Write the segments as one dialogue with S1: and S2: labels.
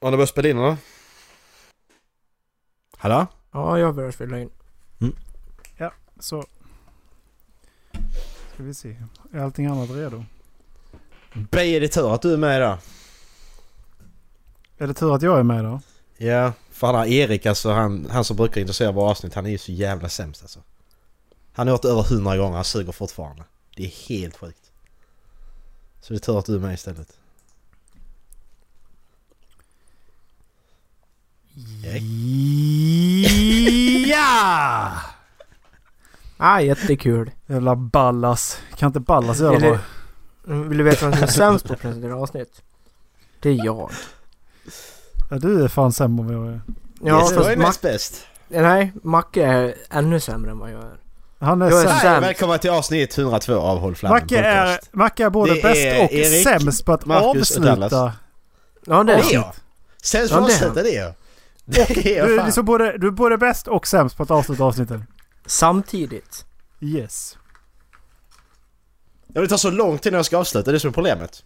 S1: Har ni börjat spela in eller? Hallå?
S2: Ja, jag börjar spela in.
S3: Så. Ska vi se. Är allting annat redo?
S1: Blir det tur att du är med idag?
S3: Är det tur att jag är med då?
S1: Ja, för han har Erik alltså, han, han som brukar intressera våra avsnitt, han är ju så jävla sämst alltså. Han har gjort det över hundra gånger, han suger fortfarande. Det är helt sjukt. Så det är tur att du är med istället.
S3: Ja!
S2: Ah, jättekul.
S3: Jävla Ballas. Kan inte Ballas göra
S2: Eller-
S3: det?
S2: Mm, Vill du veta vem som är sämst på att presentera avsnitt? Det är jag.
S3: Ja, du är fan sämre än vad jag är.
S2: Ja,
S1: yes,
S2: fast
S1: jag är
S2: Mac-
S1: näst bäst.
S2: nej, Macke är ännu sämre än vad jag är.
S3: Han är
S2: Jag är
S3: sämst.
S1: Hej,
S2: sämst.
S1: välkomna till avsnitt 102 av Håll Flammen
S3: Macke är,
S1: podcast.
S3: Macke är både
S1: Det
S3: bäst
S1: är
S3: och
S1: Erik,
S3: sämst på att
S1: Marcus och
S3: avsluta.
S1: Dallas.
S2: Ja, det
S1: Det
S2: är
S1: är
S2: jag.
S1: jag! Sämst
S2: Ja,
S1: för
S2: det är
S1: avsnitt,
S2: han.
S1: det är jag. Det är
S3: Du är,
S1: jag
S3: liksom
S1: fan.
S3: både, du är både bäst och sämst på att avsluta avsnitten.
S2: Samtidigt.
S3: Yes.
S1: Ja, Det tar så lång tid när jag ska avsluta, det är som är problemet.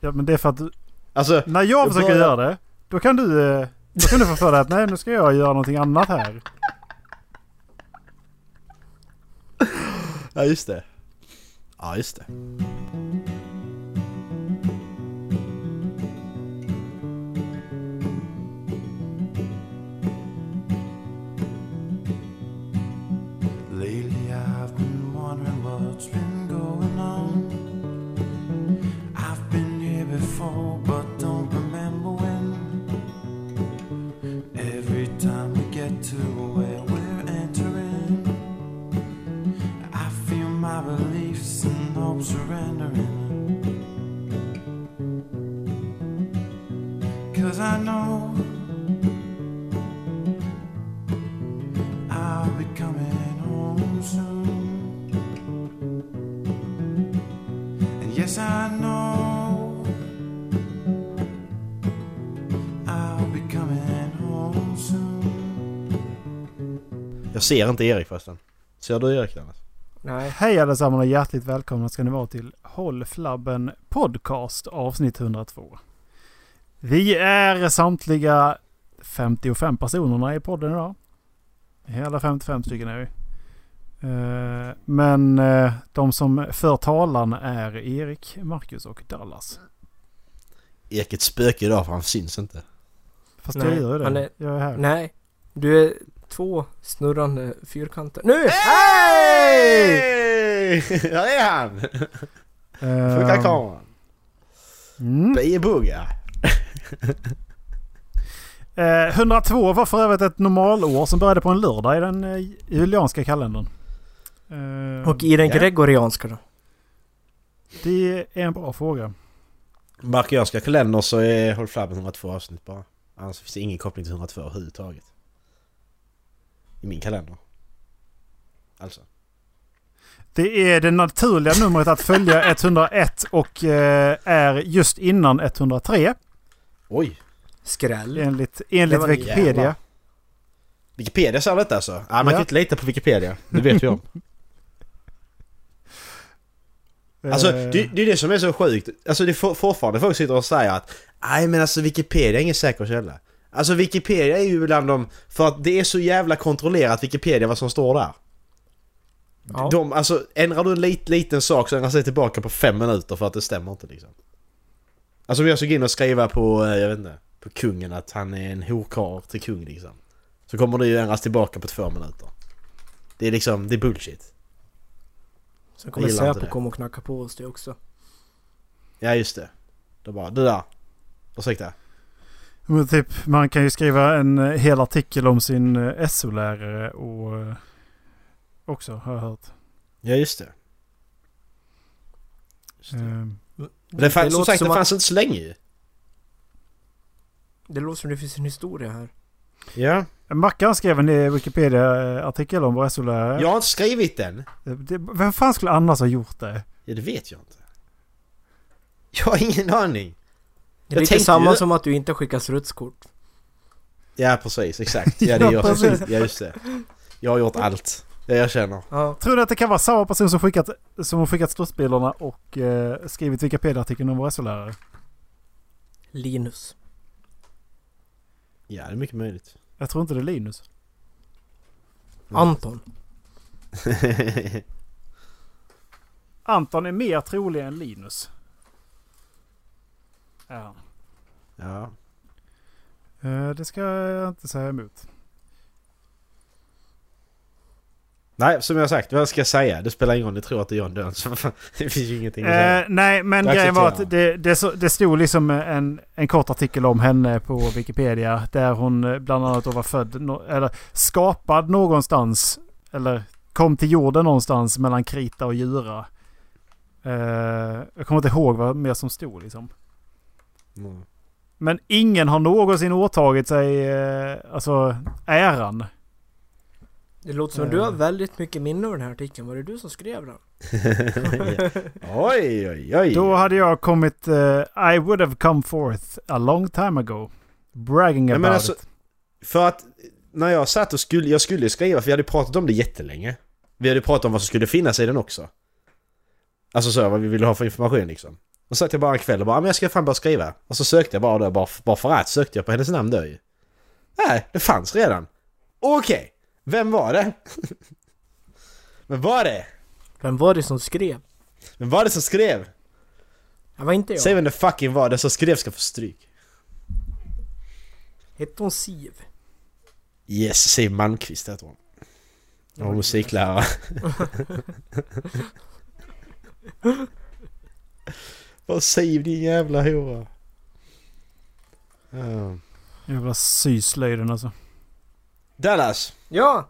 S3: Ja men det är för att du,
S1: Alltså,
S3: när jag
S1: Jag
S3: försöker
S1: börjar-
S3: göra det, då kan du, eh, då kan du få för dig att nej nu ska jag göra någonting annat här.
S1: ja just det. Ja just det.
S4: Lately I've been wondering what's been going on. I've been here before, but don't remember when. Every time we get to where we're entering, I feel my beliefs and hopes surrendering. Cause I know I'll be coming home soon. And yes, I know I'll be coming home soon.
S1: Jag ser inte Erik förresten. Ser du Erik Dennis?
S2: Nej.
S3: Hej allesammans och hjärtligt välkomna ska ni vara till Håll Flabben Podcast avsnitt 102. Vi är samtliga 55 personerna i podden idag. Hela 55 stycken är vi. Eh, Men eh, de som för talan är Erik, Marcus och Dallas.
S1: Erik är ett spöke idag för han syns inte.
S3: Fast
S2: Nej,
S3: jag gör ju
S2: han
S3: det.
S2: är-
S3: Jag är här.
S2: Nej. Du är två snurrande fyrkanter. Nu!
S1: Hej! Där är han!
S3: Eh,
S1: Funkar kameran?
S3: mm.
S1: Bibuga!
S3: Eh, 102 var för övrigt ett normalår som började på en lördag i den eh, julianska kalendern. Eh,
S2: Och i den
S1: Ja.
S2: gregorianska då?
S3: Det är en bra fråga.
S1: Markianska kalender så är Håll Flabben 102 avsnitt bara. Annars finns det ingen koppling till 102 överhuvudtaget. I min kalender. Alltså.
S3: Det är det naturliga numret att följa 101 och eh, är just innan 103
S1: Oj! Mm.
S2: Skräll.
S3: enligt,
S2: Det
S3: enligt
S2: var
S3: Wikipedia.
S1: jävla. Wikipedia sa detta alltså? Ah, man
S3: Ja.
S1: kan inte lita på Wikipedia. Det vet vi om. Alltså
S3: Eh,
S1: det, det är det som är så sjukt. Alltså det är for, fortfarande folk sitter och säger att nej men alltså Wikipedia är ingen säker källa. Alltså Wikipedia är ju bland de... För att det är så jävla kontrollerat Wikipedia vad som står där.
S2: Ja.
S1: De, alltså ändrar du en lit, liten sak så ändras det tillbaka på fem minuter för att det stämmer inte liksom. Alltså om jag skulle gå in och skriva på, eh, jag vet inte, på kungen att han är en horkarl till kung liksom. Så kommer det ju ändras tillbaka på två minuter. Det är liksom, det är bullshit.
S2: Sen kommer
S1: Jag gillar inte
S2: Säpo
S1: det.
S2: komma och knacka på oss det också.
S1: Ja just det. Då bara, du där. Ursäkta.
S3: men typ, man kan ju skriva en eh, hel artikel om sin eh, SO-lärare och eh, också har jag hört.
S1: Ja just det. Just det.
S3: Eh,
S1: Men det fanns, som
S2: låter
S1: sagt, det
S2: att-
S1: fanns inte så länge ju.
S2: Det låter som det finns en historia här.
S1: Ja.
S3: Mackan skrev en eh, Wikipedia-artikel om vår SO-lärare.
S1: Jag har inte skrivit den.
S3: Det- det- Vem fan skulle annars ha gjort det?
S1: Ja, det vet jag inte. Jag har ingen aning.
S2: Det
S1: Jag
S2: är lite
S1: tänkte
S2: samma
S1: ju-
S2: som att du inte skickar strutskort.
S1: Ja, precis. Exakt. Ja, det är
S3: Ja,
S1: jag som
S3: precis.
S1: skrivit. Ja, just det. Jag har gjort allt. Det erkänner.
S2: Ja.
S3: Tror du att det kan vara samma person som skickat, som har skickat strutsbilderna och eh, skrivit Wikipedia-artikeln om vår SO-lärare?
S2: Linus.
S1: Ja, det är mycket möjligt.
S3: Jag tror inte det är Linus.
S1: Mm.
S2: Anton.
S3: Anton är mer trolig än Linus. Är han.
S1: ja.
S3: Eh, Det ska jag inte säga emot.
S1: Nej, som jag sagt, vad ska jag säga? Det spelar ingen roll, ni tror att det är John Dön. Så vad fan, det finns ju ingenting att säga.
S3: Eh, nej, men
S1: Det
S3: grejen var att
S1: accepterar
S3: det, det, så- det stod liksom en, en kort artikel om henne på Wikipedia. Där hon eh, bland annat då var född, nå- eller skapad någonstans. Eller kom till jorden någonstans mellan Krita och Djura. Eh, jag kommer inte ihåg vad mer som stod liksom.
S1: Mm.
S3: Men ingen har någonsin åtagit sig eh, alltså, äran.
S2: Det låter som att du har väldigt mycket minne av den här artikeln. Var det du som skrev den?
S1: oj, oj, oj.
S3: Då hade jag kommit... eh, I would have come forth a long time ago. Bragging
S1: Nej,
S3: about
S1: men alltså-
S3: it.
S1: För att när jag satt och skulle, jag skulle skriva, för vi hade pratat om det jättelänge. Vi hade pratat om vad som skulle finnas i den också. Alltså så, vad vi ville ha för information liksom. Och så satt jag bara en kväll och bara, "Ah, men jag ska fan bara skriva. Och så sökte jag bara då, bara, bara för att sökte jag på hennes namn då ju. Nej, det fanns redan. Okej, vem var det? men var det?
S2: Vem var det som skrev?
S1: Vem var det som skrev?
S2: Det var inte jag.
S1: Säg vem det fucking var, den som skrev ska få stryk.
S2: Hette hon Siv?
S1: Yes, Siw Malmkvist heter hon. Hon var musiklärare. Vad Siw din jävla hora. Ja.
S3: Jävla syslöjden alltså.
S1: Dallas,
S2: Ja!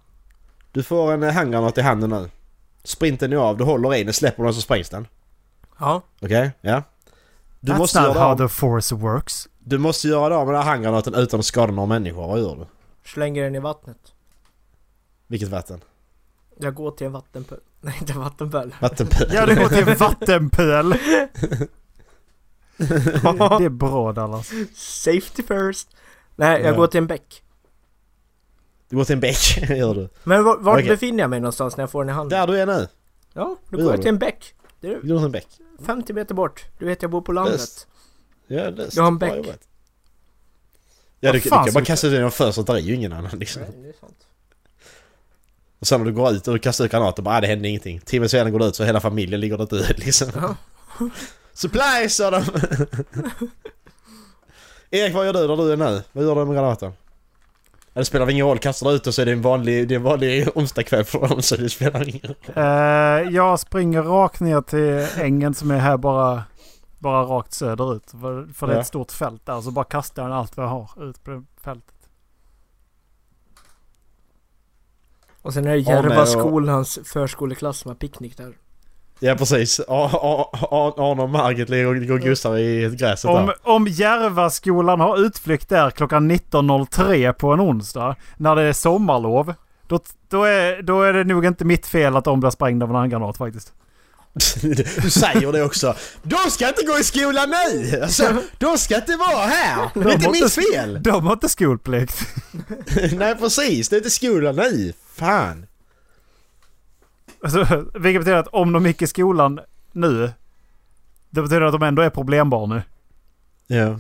S1: du får en eh, handgranat i handen nu. Sprinten är av, du håller i den, släpper den så sprängs den.
S2: Ja.
S1: Okej? Ja. Du
S3: That's
S1: måste,
S3: not
S1: göra det
S3: how
S1: av,
S3: the force works.
S1: du måste göra det av med den här handgranaten utan att skada några människor. Vad gör du?
S2: Slänger den i vattnet.
S1: Vilket vatten?
S2: Jag går till en vattenpöl. Nej, inte vattenpöl.
S1: Vattenpöl?
S3: Ja, det går till vattenpöl. det är bra Dallas.
S2: Safety first. Nej, jag
S1: Ja.
S2: går till en bäck.
S1: Du går till en bäck, gör du.
S2: Men var, vart
S1: Okej.
S2: befinner jag mig någonstans när jag får den i handen?
S1: Där du är nu.
S2: Ja, då
S1: Gör
S2: går jag
S1: du?
S2: till en bäck. Det är
S1: Du går till en bäck.
S2: 50 meter bort. Du vet, jag bor på landet.
S1: Bäst. Ja, löst.
S2: Jag har en
S1: Bra
S2: bäck.
S1: jobbat. Ja, du,
S3: Vad
S1: du
S3: fan
S1: kan
S3: ska
S1: bara
S3: vi-
S1: kasta ut den genom fönstret, där är ju ingen annan liksom.
S2: Nej, det är sant.
S1: Och sen när du går ut och du kastar ut granaten, bara "Ah, det händer ingenting. Timmen senare går du ut så hela familjen ligger där död liksom.
S2: Ja.
S1: Supplies sa de! Erik, vad gör du där du är nu? Vad gör du med granaten? Ja, det spelar ingen roll, kastar du ut och så är det en vanlig, det är en vanlig onsdagkväll för dem så det spelar ingen roll.
S3: Eh, jag springer rakt ner till ängen som är här bara, bara rakt söderut. För, för det är
S1: Ja.
S3: ett stort fält där. Så bara kastar jag allt vad jag har ut på det fältet.
S2: Och sen är det
S1: Ja, men
S2: Järva
S1: jag-
S2: skolans förskoleklass som har picknick där.
S1: Ja precis, A- A- A- Arne och Margit ligger och går och gussar i gräset
S3: Om,
S1: där.
S3: om Järvaskolan har utflykt där klockan 19.03 på en onsdag när det är sommarlov. Då, då, är, då är det nog inte mitt fel att de blir sprängda av en handgranat faktiskt.
S1: Du säger det också. De ska inte gå i skolan nu! Alltså, de ska inte vara här! Det är inte mitt fel!
S3: De har inte skolplikt.
S1: Nej precis, det är inte skolan nu. Fan.
S3: Alltså, vilket betyder att om de gick i skolan nu, det betyder att de ändå är problembarn nu.
S1: Ja.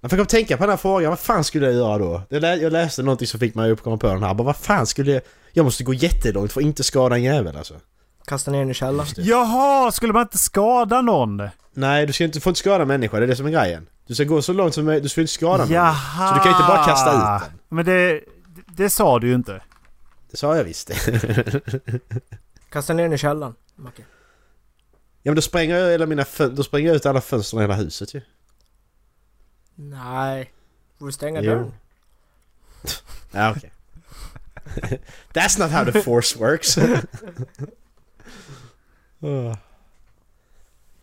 S1: Jag fick tänka på den här frågan, vad fan skulle jag göra då? Jag, lä- jag läste någonting som fick mig att komma på den här, bara vad fan skulle jag... Jag måste gå jättelångt för att inte skada en jävel alltså.
S2: Kastar ner den i källaren.
S3: Jaha, skulle man inte skada någon?
S1: Nej, du ska inte, får inte skada en människa, det är det som är grejen. Du ska gå så långt som möjligt, du ska inte skada någon.
S3: Jaha!
S1: Så du kan inte bara kasta ut den.
S3: Men det, det sa du ju inte.
S1: Det sa jag visst.
S2: Kastar ner den i källaren. Macke.
S1: Ja men då spränger jag, hela mina fön- då spränger jag ut alla fönster i hela huset ju.
S2: Nej. Får du stänga
S1: Jo.
S2: dörren?
S1: Ja, okej. That's not how the force works. Nej,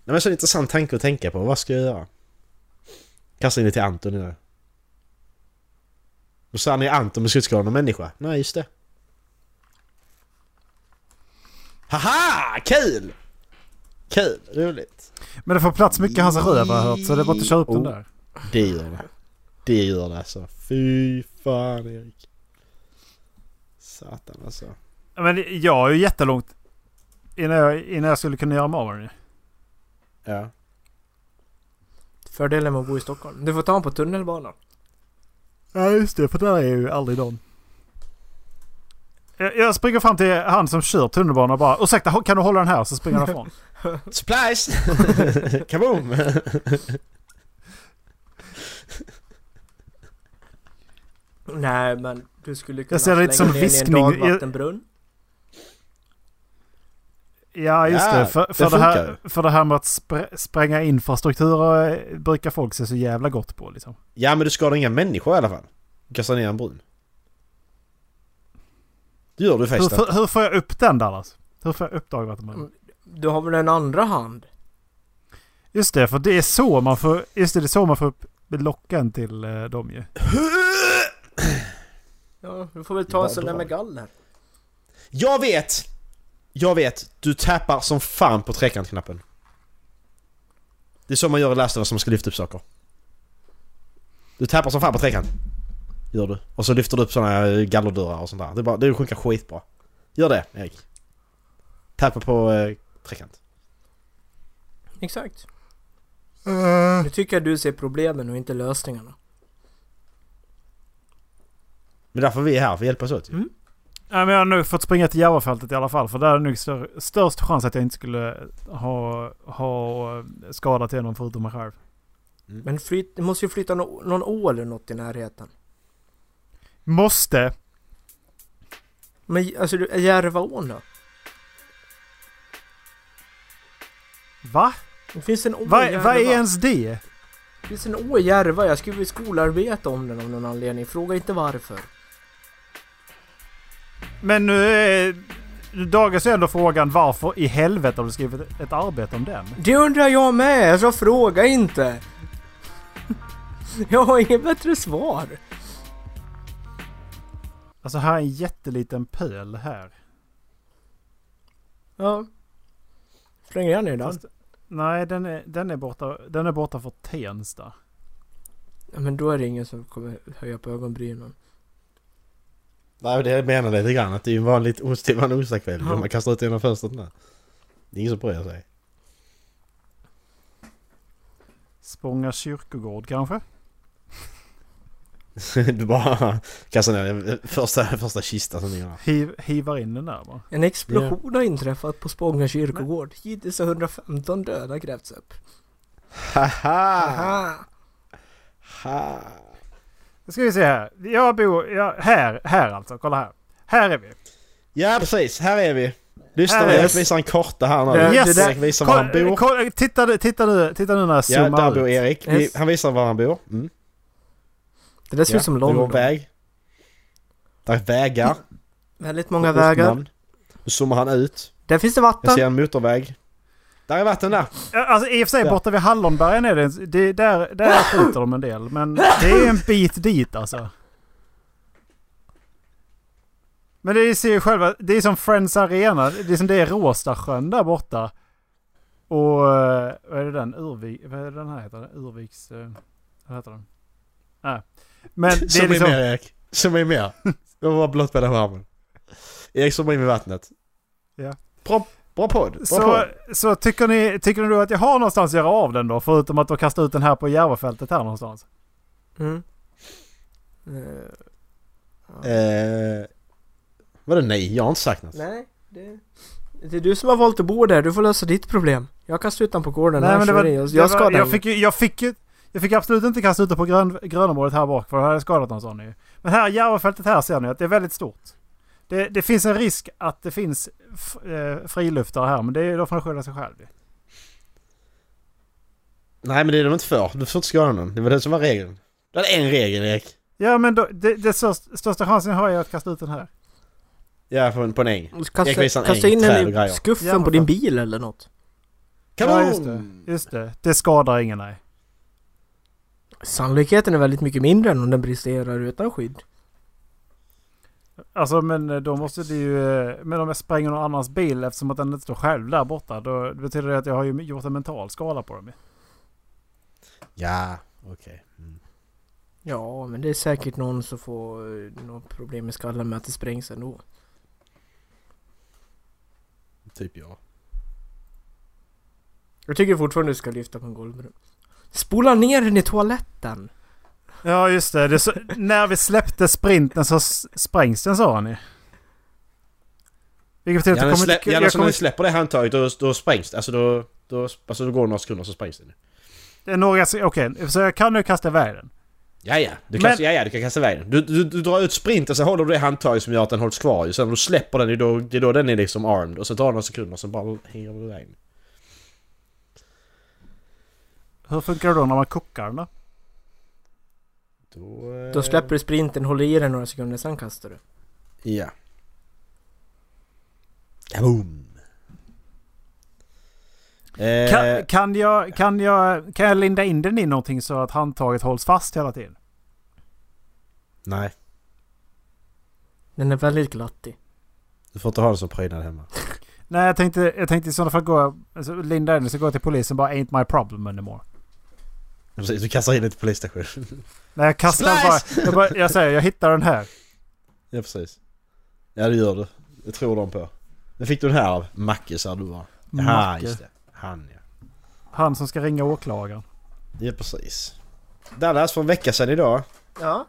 S1: men så en intressant tanke att tänka på. Vad ska jag göra? Kasta in det till Anton nu. Och så är ni Anton men ska inte skada någon människa. Nej, just det. Haha! Kul! Kul, roligt.
S3: Men det får plats mycket i hans röv har jag hört, så det var inte att köra upp den
S1: Oh.
S3: där.
S1: Det gör det. Det gör det alltså. Fy fan Erik. Satan alltså.
S3: Ja, Men jag är ju jättelångt innan jag, innan jag skulle kunna göra mig av med den.
S1: Ja.
S2: Fördelen med att bo i Stockholm. Du får ta den på tunnelbanan.
S3: Ja just det, för där är ju aldrig någon. Jag, jag springer fram till han som kör tunnelbanan och bara ursäkta kan du hålla den här? Så springer han ifrån.
S1: Supplies! Kaboom!
S2: Nej, men du skulle kunna
S3: Jag ser det lite
S2: slänga
S3: som
S2: ner
S3: viskning.
S2: i
S3: Jag-
S2: en dagvattenbrunn.
S3: Ja just
S1: Ja,
S3: det. För, för,
S1: det
S3: det här,
S1: funkar.
S3: för det här med att spr spränga infrastrukturer eh, brukar folk se så jävla gott på liksom.
S1: Ja men du skadar inga människor i alla fall. Du kastar ner en brun. Det gör du
S3: Hur,
S1: faktiskt
S3: hur, hur får jag upp den Dallas? Hur får jag upp dagvattenbrunn?
S2: Du har väl en andra hand?
S3: Just det, för det är så man får, just det, det är så man får upp locken till eh, dem ju.
S2: Ja, du får väl ta en
S1: Vad
S2: sån där
S1: bra.
S2: med galler.
S1: Jag vet! Jag vet! Du tappar som fan på trekantknappen. Det är så man gör i Last of Us som ska lyfta upp saker. Du tappar som fan på trekant. Gör du. Och så lyfter du upp såna eh, gallerdörrar och sånt där. Det, är bara, det funkar skitbra. Gör det, Erik. Tappa på eh, trekant.
S2: Exakt. Eh. Nu tycker jag du ser problemen och inte lösningarna.
S1: Men därför vi är här, för att hjälpas åt ju.
S2: Mm.
S3: Nej, men jag har nu fått springa till Järvafältet i alla fall. För där är det nog stör, störst chans att jag inte skulle ha, ha skadat till någon förutom mig själv.
S2: Men flyt, det måste ju flytta nå- någon ål eller något i närheten.
S3: Måste!
S2: Men alltså du- Järvaån då?
S3: Va?
S2: Det finns en å i
S3: Va
S2: Järva.
S3: vad är ens det?
S2: Det finns en å i Järva. Jag skrev ju skolarbete om den av någon anledning. Fråga inte varför.
S3: Men nu är... Dagens är ändå frågan varför i helvete har du skrivit ett arbete om den?
S2: Det undrar jag med, jag sa fråga inte! Jag har inget bättre svar.
S3: Alltså här är en jätteliten pöl här.
S2: Ja. Släng ner den i den.
S3: Fast, nej, den är, den, är borta, den är borta för Tensta.
S2: Ja, Men då är det ingen som kommer höja på ögonbrynen.
S1: Nej, det menar jag lite grann. Att det är ju en vanlig onsdag, en onsdagkväll.
S2: Ja.
S1: Man kastar ut genom fönstret där. Det är ingen som bryr sig.
S3: Spånga kyrkogård kanske?
S1: du bara kastar ner den första, första kistan som ligger där.
S3: Hiv, hivar in den där va?
S2: En explosion har inträffat på Spånga kyrkogård. Hittills har 115 döda grävts upp.
S3: Ah.
S1: Haha!
S2: Aha.
S1: Ha.
S3: Nu ska vi se här. Jag bor... Jag, här, här alltså. Kolla här. Här är vi.
S1: Ja precis, här är vi. Lyssna
S3: Här
S1: nu,
S3: är
S1: Erik
S3: vi.
S1: visar en karta här nu.
S2: Där-
S3: Yes!
S2: det där-
S1: Erik visar var han bor.
S3: kolla, titta, nu- titta, nu, titta nu när jag
S1: Ja, där
S3: zoomar
S1: bor
S3: ut.
S1: Erik. Vi,
S2: Yes.
S1: han visar var han bor. Mm.
S2: Det där ser
S1: Ja,
S2: ut som
S1: Det går en
S2: London.
S1: väg. Där är vägar.
S2: Väldigt många vägar.
S1: Ortnamn. Nu zoomar han ut.
S2: Där finns det
S1: Jag
S2: vatten.
S1: ser en motorväg. Där är vatten där.
S3: Ja, Alltså i och för sig
S1: Ja.
S3: borta vid Hallonbergen är det, en- det där, där skjuter de en del. Men det är en bit dit alltså. Men det ser ju själva, det är som Friends Arena. Det är som det är Råstasjön där borta. Och eh, vad är det den? Urvik, vad är det den här heter? Urviks... eh, Vad heter den? Nej. Men det är
S1: Zooma in mer
S3: liksom...
S1: Erik. Zooma in mer. Jag var bara blott med den armen. Erik zoomar in i vattnet.
S3: Ja.
S1: Bra, bra podd. Bra
S3: Så,
S1: podd.
S3: så tycker ni, tycker ni då att jag har någonstans att göra av den då? Förutom att då kasta ut den här på Järvafältet här någonstans.
S2: Mm. Eh, ja.
S1: Eh, vadå nej? Jag har inte sagt något.
S2: Nej, det... Det är du som har valt att bo där, du får lösa ditt problem. Jag kastar ut den på gården
S3: Nej,
S2: här,
S3: men det
S2: så
S3: var,
S2: är
S3: det
S2: det.
S3: var,
S2: Jag, jag skadar
S3: jag
S2: den.
S3: fick ju, jag fick ju, jag fick absolut inte kasta ut den på grön, grönområdet här bak för då hade jag skadat någon sån ju. Men här Järvafältet här ser ni att det är väldigt stort. Det, det finns en risk att det finns f, eh, friluftare här men det är, då får de skylla sig själv ju.
S1: Nej men det är de inte för. Du får inte skada någon. Det var det som var regeln. Du hade en regel Erik.
S3: Ja men då, det, det största, största chansen har jag att kasta ut den här.
S1: Ja på en, på en äng. Jag
S2: Kasta,
S1: visar en
S2: kasta
S1: äng,
S2: in
S1: träd och
S2: den
S1: grejer.
S2: i skuffen
S3: Ja, men
S2: på din
S3: fan.
S2: bil eller något.
S1: Kanon!
S3: Ja, just det. Just det. Det skadar ingen nej.
S2: Sannolikheten är väldigt mycket mindre än om den bristerar utan skydd.
S3: Alltså men eh, då måste det ju... eh, Men om jag spränger någon annans bil eftersom att den inte står själv där borta. Då betyder det att jag har ju gjort en mental skada på dem ju.
S1: Ja, okej. Mm.
S2: Ja, men det är säkert någon som får eh, något problem i skallen med att det sprängs ändå.
S1: Typ jag.
S2: Jag tycker fortfarande du ska lyfta på en golvbrunn. Spola ner den i toaletten!
S3: Ja, just det. det så, när vi släppte sprinten så s- sprängs den, sa han ju. Vilket betyder
S1: Ja,
S3: att
S1: när
S3: det kommer
S1: slä,
S3: inte...
S1: ja,
S3: Jag
S1: alltså, när
S3: kommer,
S1: vi släpper det handtaget då, då sprängs det. Alltså då, då, alltså då går det några sekunder så sprängs det.
S3: det är några... se- Okej, så jag kan nu kasta iväg den.
S1: Ja, ja. Du
S3: Men-
S1: kan, alltså- ja, ja, du kan kasta iväg den. Du, du, du drar ut sprinten, sen håller du det handtaget som gör att den hålls kvar ju. Sen när du släpper den, det är då, det är då den är liksom armed. Och så tar det några sekunder, sen bara hänger du iväg den.
S3: Hur funkar det då när man kokar den då?
S1: Då, eh,
S2: Då släpper du sprinten, håller i den några sekunder, sen kastar du.
S1: Ja. Kaboom! Eh,
S3: Kan, kan, jag, kan, jag, kan jag linda in den i någonting så att handtaget hålls fast hela tiden?
S1: Nej,
S2: Den är väldigt glattig.
S1: du får inte ha den som prydnad hemma.
S3: Nej, jag tänkte, jag tänkte i sådana fall gå... Alltså, linda in den så går jag till polisen bara ain't my problem anymore.
S1: Precis, du kastar in den till polisstationen.
S3: Nej, jag kastar den bara, jag bara... Jag säger, jag hittar den här.
S1: Ja, precis. Ja, det gör du. Det tror de på. Det fick du den här av Macke, sa du va? Ja,
S3: Macke.
S1: just det. Han ja.
S3: Han som ska ringa åklagaren.
S1: Ja, precis. Dallas, för en vecka sedan idag.
S2: Ja.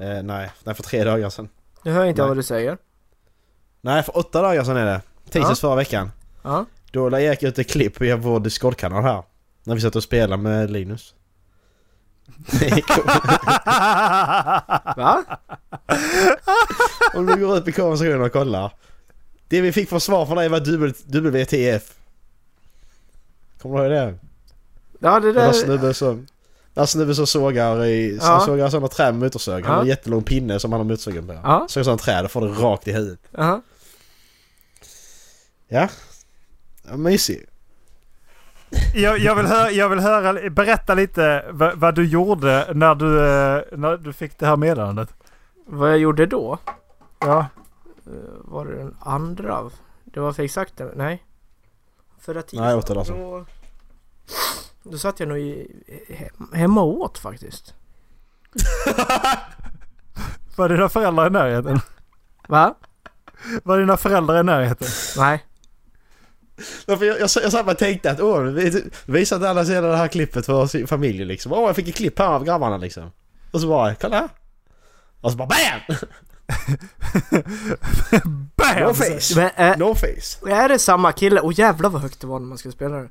S1: Eh, nej, nej, för tre dagar sedan.
S2: Nu hör jag inte
S1: Nej.
S2: vad du säger.
S1: Nej, för åtta dagar sedan är det. Tisdags förra veckan.
S2: Ja.
S1: Då la Erik ut ett klipp via vår Discord-kanal här. När vi satt och spelade med Linus.
S2: Va?
S1: Om du går ut på konversationen och kollar. Det vi fick för svar från dig var dubbel- WTF. Kommer du ihåg det?
S2: Ja, det
S1: Den där
S2: där...
S1: snubben som... Den där snubben som sågar i...
S2: Ja.
S1: Som sågar sådana träd med motorsåg. Han har en
S2: Ja.
S1: jättelång pinne som han har motorsågen på.
S2: Ja.
S1: Såg sådana träd och får det rakt i huvudet.
S2: Ja.
S1: Ja. Ja, Mysig.
S3: Jag, jag, vill höra, jag vill höra, berätta lite vad, vad du gjorde när du, eh, när du fick det här meddelandet.
S2: Vad jag gjorde då?
S3: Ja,
S2: eh, Var det den andra? av- Det var för exakt den, nej. Förra tisdagen.
S1: Nej, åtta dagar sedan.
S2: Då, då satt jag nog i, he- hemma och åt faktiskt.
S3: var dina föräldrar i närheten?
S2: Va?
S3: Var dina föräldrar i närheten?
S2: Nej.
S1: Ja, för jag, jag, jag satt bara och tänkte att åh, vi- visa inte alla hela det här klippet för sin familj liksom. Åh, jag fick ett klipp här av grabbarna liksom. Och så bara, kolla här. Och så bara BAM! No
S3: Bam!
S1: face!
S2: Men, eh,
S1: No face!
S2: är det samma kille? Åh jävlar vad högt det var när man skulle spela det.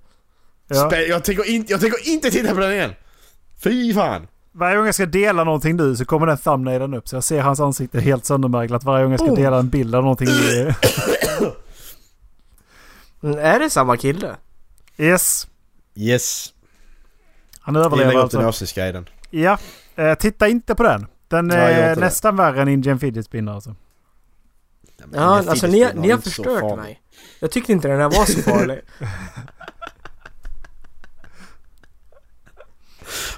S3: Ja.
S1: Spä- Jag, tänker inte, jag tänker inte titta på den igen! Fy fan!
S3: Varje gång jag ska dela någonting nu så kommer den thumbnailen upp så jag ser hans ansikte helt söndermärglat varje gång jag ska
S2: Oh.
S3: dela en bild av någonting. i-
S2: Mm, är det samma kille?
S3: Yes,
S1: Yes.
S3: han
S1: Vi lägger
S3: överlever
S1: upp den i
S3: alltså.
S1: avsnittsguiden.
S3: Ja, eh, titta inte på den. Den
S1: Nej, jag gör
S3: är
S1: inte det.
S3: nästan värre än Indian Fidget Spinner alltså.
S1: men den
S2: Ja,
S1: här
S2: alltså ni,
S1: feedspinner
S2: ni
S1: är
S2: har
S1: inte så
S2: förstört
S1: farlig.
S2: mig. Jag tyckte inte den här var så farlig.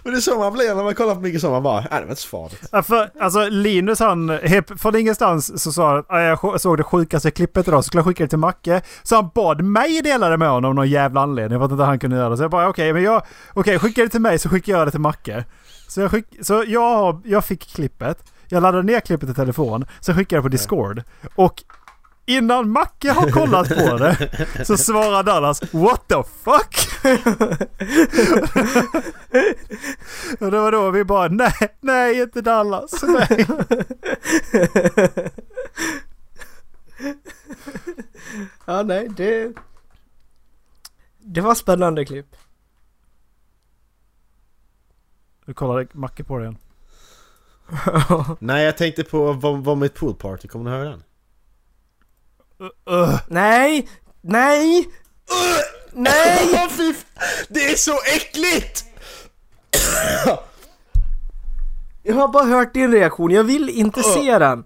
S1: Men det är så man blir när man kollar på mycket så man bara, nej det var inte så farligt.
S3: Ja, för, alltså Linus han, helt- från ingenstans så sa han att jag sj- såg det sjukaste klippet idag så skulle jag skicka det till Macke. Så han bad mig dela det med honom av någon jävla anledning. Jag vet inte hur han kunde göra det. Så jag bara okej, men jag, okej skicka det till mig så skickar jag det till Macke. Så jag, skick, så jag, har- jag fick klippet, jag laddade ner klippet i telefon, sen skickade jag det på Discord. Och innan Macke har kollat på det så svarar Dallas What the fuck? Och det var då vi bara nej, nej inte Dallas. Nej.
S2: ja, nej, det... Det var spännande klipp.
S3: Nu kollade Macke på det igen.
S1: Nej jag tänkte på vom- Vomit Pool Party, kommer ni ihåg den?
S2: nej! Nej! nej!
S1: Åh, fy f- Det är så äckligt!
S2: Jag har bara hört din reaktion, jag vill inte se den.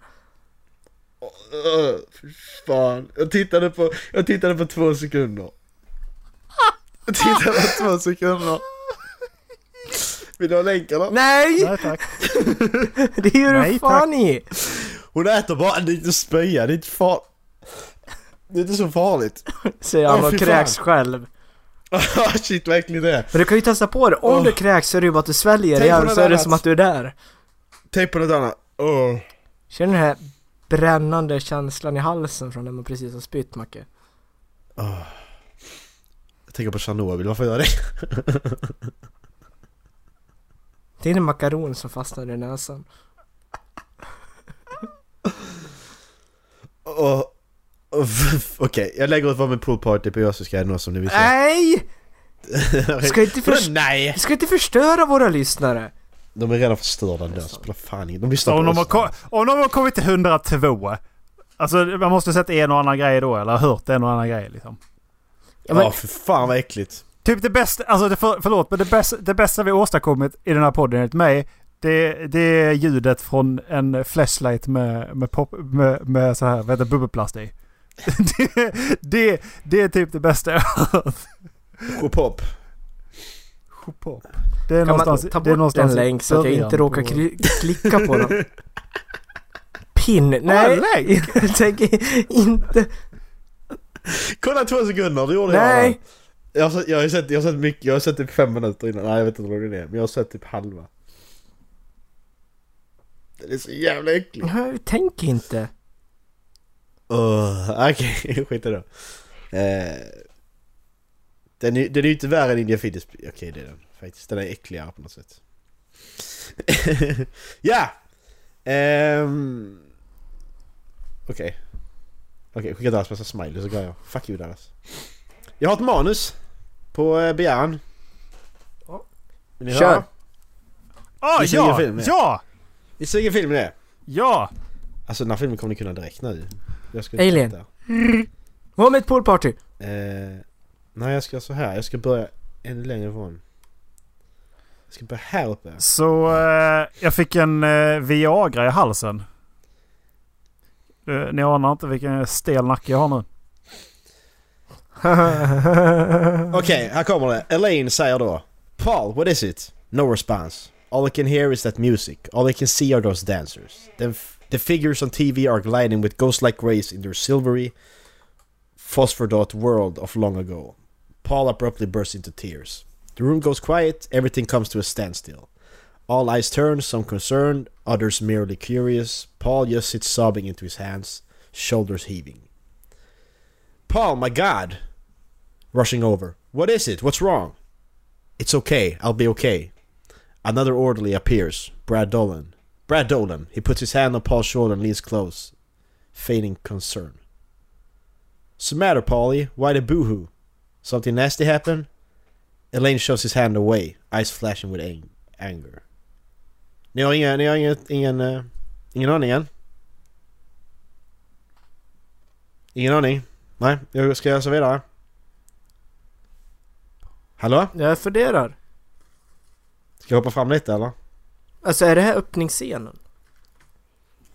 S1: Öh, fy fan. Jag tittade på, jag tittade på två sekunder. Jag tittade på två sekunder. Vill du ha länkarna?
S2: Nej!
S3: Nej tack.
S2: Det är ju
S3: Nej,
S2: du fan i!
S1: Hon äter bara en liten spya, det är inte far... Det är inte så farligt.
S2: Säger han
S1: Åh,
S2: och
S1: fy
S2: kräks själv.
S1: Shit, verkligen det.
S2: Men du kan ju testa på det, om
S1: Åh.
S2: du kräks så är det ju bara att du sväljer det
S1: Tänk på
S2: igen
S1: något
S2: så är det
S1: annat.
S2: som att du är där.
S1: Tänk på något annat. Åh.
S2: Känner du den här brännande känslan i halsen från när man precis har spytt Macke?
S1: Jag tänker på Tjernobyl, varför gör jag det?
S2: Det är en makaron som fastnade i näsan.
S1: Och, och, Okej, jag lägger ut vad med pool party på jag så ska jag nå som ni vill se.
S2: Nej! Ska inte
S1: Vadå
S2: först-
S1: Nej!
S2: Vi ska inte förstöra våra lyssnare!
S1: De är redan förstörda ändå,
S2: Det är
S1: så
S2: sant.
S1: spelar fan ingen... Alltså. De lyssnar
S3: Om
S1: på
S3: de, har
S1: oss.
S3: ko- om de har kommit till 102. Alltså man måste sett en och annan grej då eller hört en och annan grej liksom.
S2: Ja, men,
S1: Ja, för fan vad äckligt.
S3: Typ det bästa, alltså det för, förlåt men det bästa, det bästa vi åstadkommit i den här podden enligt mig. Det, det är ljudet från en flashlight med, med, pop, med, med så här, vad heter det, bubbelplast i. det, det, det är typ det bästa jag har hört.
S1: Pop.
S3: Pop. Det är
S2: kan man
S3: någonstans,
S2: ta
S3: det är
S2: bort
S3: någonstans
S2: en
S3: i
S2: länk så att jag
S3: början
S2: inte råkar
S3: på-
S2: kli- klicka på den? Pin? Nej!
S3: en länk?
S2: Jag tänker inte...
S1: Kolla två sekunder, det gjorde jag.
S2: Nej!
S1: Jag har, sett, jag, har sett, jag har sett mycket, jag har sett typ fem minuter innan, nej jag vet inte vad det är, men jag har sett typ halva. Det är så jävla äckligt.
S2: Nej, tänk inte.
S1: Uh, Okej, skit i det. Eh, den, är, den är ju inte värre än India Fiddes. Okej det är den faktiskt, den är äckligare på något sätt. ja! Ehm. Okej. Okej, skicka Dallas massa smileys så går jag. Fuck you Dallas. Jag har ett manus. På eh, begäran.
S2: Ja.
S1: Vill ni
S2: Kör.
S1: höra?
S3: Ah,
S1: Gissa vilken
S3: ja!
S1: film det är.
S3: Ja!
S1: Gissa vilken film det är?
S3: Ja!
S1: Alltså den här filmen kommer ni kunna direkt nu. Jag ska inte
S2: Alien.
S1: vänta.
S2: Vad med ett poolparty?
S1: Eh, nej, jag ska så här. Jag ska börja ännu längre ifrån. Jag ska börja här uppe.
S3: Så eh, jag fick en eh, Viagra i halsen. Eh, ni anar inte vilken stel nacke jag har nu.
S1: Okej, här kommer det. Elaine säger då. Paul, what is it? No response. All I can hear is that music. All I can see are those dancers. The, f- the figures on TV are gliding with ghost-like grace in their silvery phosphor dot world of long ago. Paul abruptly bursts into tears. The room goes quiet. Everything comes to a standstill. All eyes turn, some concerned, others merely curious. Paul just sits sobbing into his hands, shoulders heaving. Paul, my God! Rushing over. What is it? What's wrong? It's okay. I'll be okay. Another orderly appears. Brad Dolan. Brad Dolan. He puts his hand on Paul's shoulder and leans close, feigning concern. What's the matter, Paulie? Why the boohoo? Something nasty happened? Elaine shoves his hand away, eyes flashing with ang- anger. Ni har ingen, ni har ingen, ingen, eh, ingen aning än? Ingen aning? Nej, jag ska läsa vidare. Hallå?
S2: Jag funderar.
S1: Ska jag hoppa fram lite eller?
S2: Alltså är det här öppningsscenen?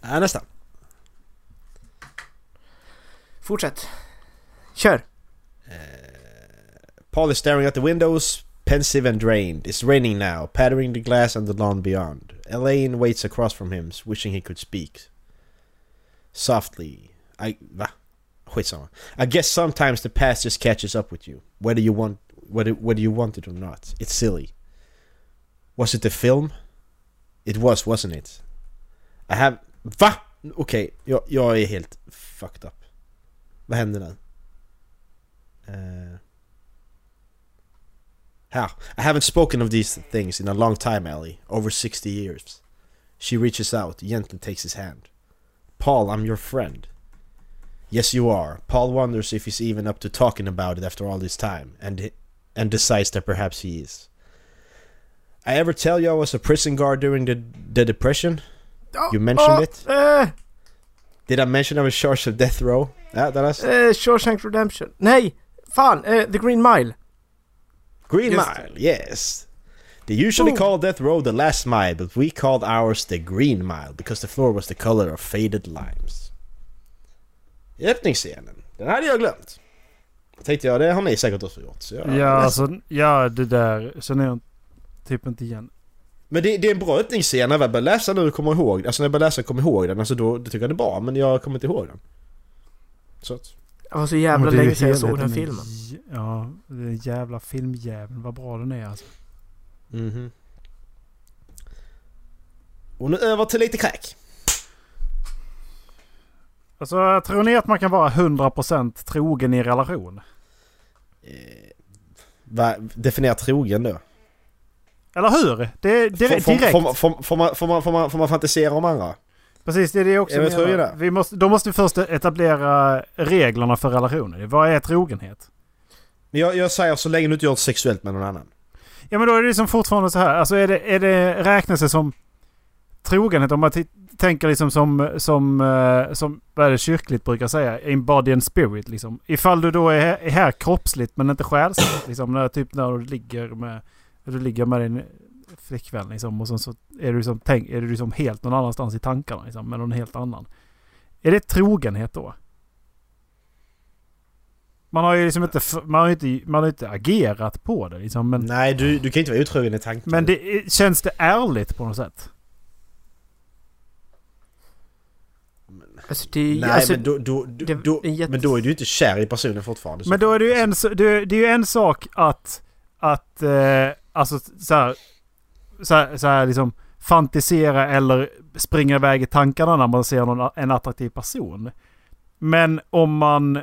S1: Ja, nästan.
S2: Fortsätt. Kör.
S1: Paul is staring at the windows, pensive and drained. It's raining now, pattering the glass on the lawn beyond. Elaine waits across from him, wishing he could speak. Softly. I va? Skitsamma. I guess sometimes the past just catches up with you, whether you want whether whether you want it or not. It's silly. Was it the film? It was, wasn't it? I have Va? Okej, jag, jag är helt fucked up. Vad händer nu? Eh. How? I haven't spoken of these things in a long time, Ellie. Over 60 years. She reaches out, gently takes his hand. Paul, I'm your friend. Yes, you are. Paul wonders if he's even up to talking about it after all this time, and, and decides that perhaps he is. I ever tell you I was a prison guard during the, the Depression? You mentioned it?
S2: Eh,
S1: Did I mention I was charged with death row? Yeah, that is.
S2: eh, Shawshank Redemption. Nej! Fan, eh, The Green Mile.
S1: Green
S2: Just-
S1: Mile, yes. They usually call that road the last mile, but we called ours the green mile because the floor was the color of faded limes. Öppningsscenen, den hade jag glömt. Då tänkte jag, det har ni säkert också gjort. Så jag,
S3: Ja, alltså, ja det där känner jag typ inte igen.
S1: Men det, det är en bra öppningsscen, när jag börjar läsa nu och kommer ihåg Alltså när jag börjar läsa och kommer ihåg den, alltså då, då tycker jag det är bra, men jag kommer inte ihåg den. Så att,
S2: Det var så jävla
S3: Men det är ju
S2: länge sedan jag
S3: helheten
S2: såg den
S3: i-
S2: filmen.
S3: Ja, den jävla filmjäveln. Vad bra den är alltså.
S1: mhm. Och nu över till lite crack.
S3: Alltså tror ni att man kan vara 100% trogen i en relation?
S1: Eh, va, definiera trogen då.
S3: Eller hur? Det är direkt.
S1: Får- får-
S3: direkt.
S1: får man- får- får man- får man- får man- Får man fantisera om andra?
S3: Precis, det är det jag också
S1: Jag vet hur jag
S3: menar.
S1: gör.
S3: Vi måste, då måste vi först etablera reglerna för relationer. Vad är trogenhet?
S1: Men jag, jag säger så länge du inte gör något sexuellt med någon annan.
S3: Ja men då är det liksom fortfarande så här. Alltså är det, är det räknas det som trogenhet? Om man t- tänker liksom som, som, eh, som, vad är det kyrkligt brukar säga? In body and spirit liksom. Ifall du då är här, är här kroppsligt men inte själsligt. Liksom när, typ när du ligger med, när du ligger med din flickvän liksom. Och sen så är du liksom, tänk, är du liksom helt någon annanstans i tankarna liksom. Med någon helt annan. Är det trogenhet då? Man har ju liksom inte, f- man har ju inte, man har ju inte agerat på det liksom. Men
S1: Nej, du, du kan inte vara otrogen i tanken.
S3: men det, är- känns det ärligt på något sätt?
S2: Alltså det är ju...
S1: Nej,
S2: alltså,
S1: men, då, då, då,
S2: det-
S1: då,
S2: det är jätte-
S1: men då är du ju inte kär i personen fortfarande. så
S3: Men då är det ju
S1: fall.
S3: en, så- det, det är ju en sak att... Att... Eh, alltså så här, så här... Så här liksom fantisera eller springa iväg i tankarna när man ser någon, en attraktiv person. Men om man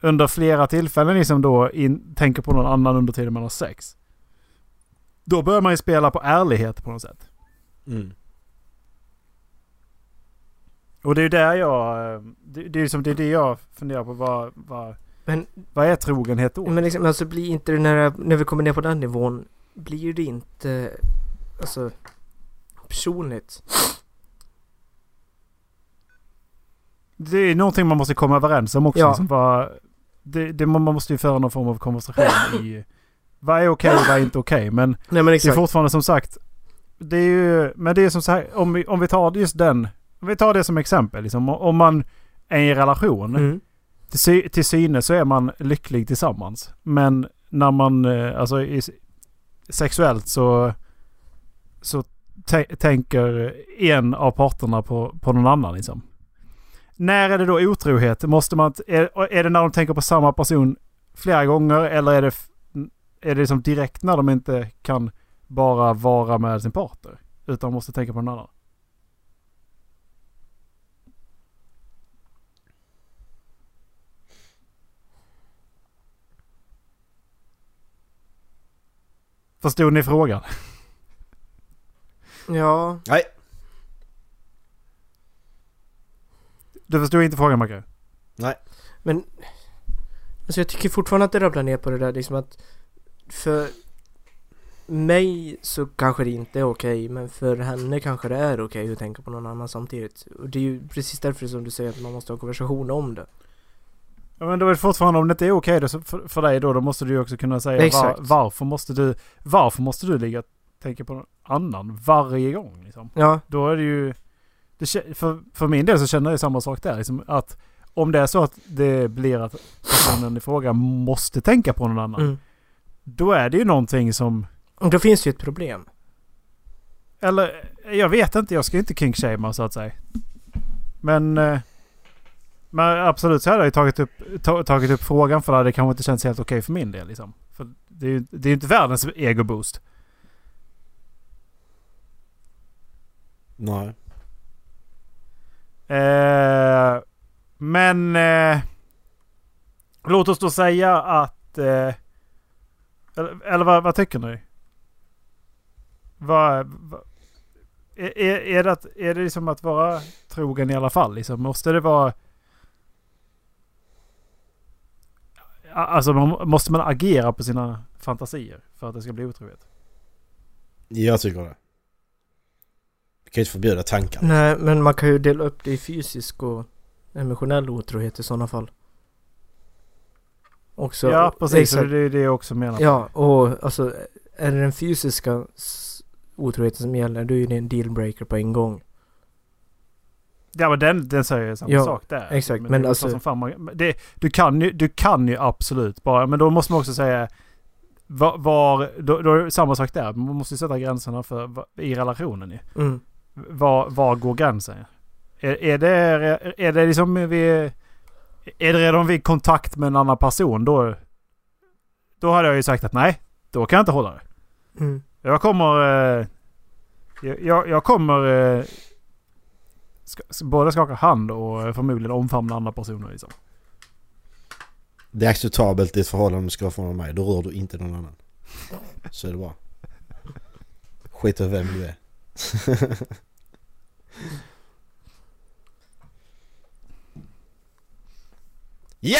S3: under flera tillfällen liksom då in, tänker på någon annan under tiden man har sex. Då börjar man ju spela på ärlighet på något sätt.
S1: Mm.
S3: Och det är ju där jag... eh, Det, det, är ju som, det är det jag funderar på. Vad, vad,
S2: Men-
S3: vad är trogenhet då?
S2: Men liksom, alltså blir inte det när, när vi kommer ner på den nivån, blir det inte, alltså, personligt?
S3: Det är någonting man måste komma överens om också.
S2: Ja.
S3: Liksom, vad, det, det, man måste ju föra någon form av konversation i vad är okej och vad är inte okej. Men
S2: Nej men
S3: det är
S2: exakt.
S3: fortfarande som sagt. Det är ju, men det är som så här, om vi, om vi tar just den. Om vi tar det som exempel. Liksom, om man är i en relation.
S2: Mm.
S3: Till, sy, till synes så är man lycklig tillsammans. Men när man, eh, alltså i, sexuellt så, så tä- tänker en av parterna på, på någon annan liksom. När är det då otrohet? Måste man, t- är, är det när de tänker på samma person flera gånger eller är det, f- är det liksom direkt när de inte kan bara vara med sin partner? Utan måste tänka på någon annan? Förstod ni frågan?
S2: Ja,
S1: Nej,
S3: Du förstod inte frågan Macke?
S2: men, alltså jag tycker fortfarande att det rabblar ner på det där liksom att, för mig så kanske det inte är okej, men för henne kanske det är okej att tänka på någon annan samtidigt. Och det är ju precis därför som du säger att man måste ha en konversation om det.
S3: Ja, men då är det fortfarande om det inte är okej då, så för, för dig då, då måste du ju också kunna säga var,
S2: Exakt.
S3: varför måste du, varför måste du ligga och tänka på någon annan varje gång liksom?
S2: Ja,
S3: Då är det ju, det, kä- för, för min del så känner jag samma sak där liksom att om det är så att det blir att personen i fråga måste tänka på någon annan,
S2: mm.
S3: då är det ju någonting som,
S2: Och då finns det ju ett problem.
S3: eller jag vet inte, jag ska ju inte kinkshamea så att säga. Men, eh, men absolut så hade jag ju tagit upp, ta, tagit upp frågan för det hade kanske inte känts helt okej för min del. Liksom. För det är ju det är ju inte världens ego-boost.
S1: nej.
S3: Eh, men eh, låt oss då säga att... Eh, eller eller vad, vad tycker ni? Vad, vad, är, är- är, det att, är det liksom att vara trogen i alla fall? Liksom? Måste det vara... Alltså man, måste man agera på sina fantasier för att det ska bli otrohet?
S1: Jag tycker det. Du kan ju inte förbjuda tankar.
S2: Nej, men man kan ju dela upp det i fysisk och emotionell otrohet i sådana fall. Också,
S3: ja precis,
S2: exakt.
S3: det är det jag också menar.
S2: Ja, och alltså är det den fysiska s- otroheten som gäller, då är det en dealbreaker på en gång.
S3: Ja men den, den säger ju samma
S2: Ja,
S3: sak där.
S2: exakt,
S3: det är
S2: men
S3: väl
S2: alltså-
S3: som fan man, men det, du, kan ju, du kan ju absolut bara, men då måste man också säga var, var då, då är det samma sak där. Man måste ju sätta gränserna för, va- i relationen ju.
S2: Mm.
S3: Var, var går gränsen? Är, är, det, är det liksom vid... Är det redan vid kontakt med en annan person då... Då hade jag ju sagt att nej, då kan jag inte hålla det.
S2: Mm.
S3: Jag kommer... eh, Jag, jag, jag kommer... eh, Ska, s- både skaka hand och eh, förmodligen omfamna andra personer liksom.
S1: Det är acceptabelt i ett förhållande om du ska vara från mig. Då rör du inte någon annan. Så är det bra. Skit i vem du är. Ja!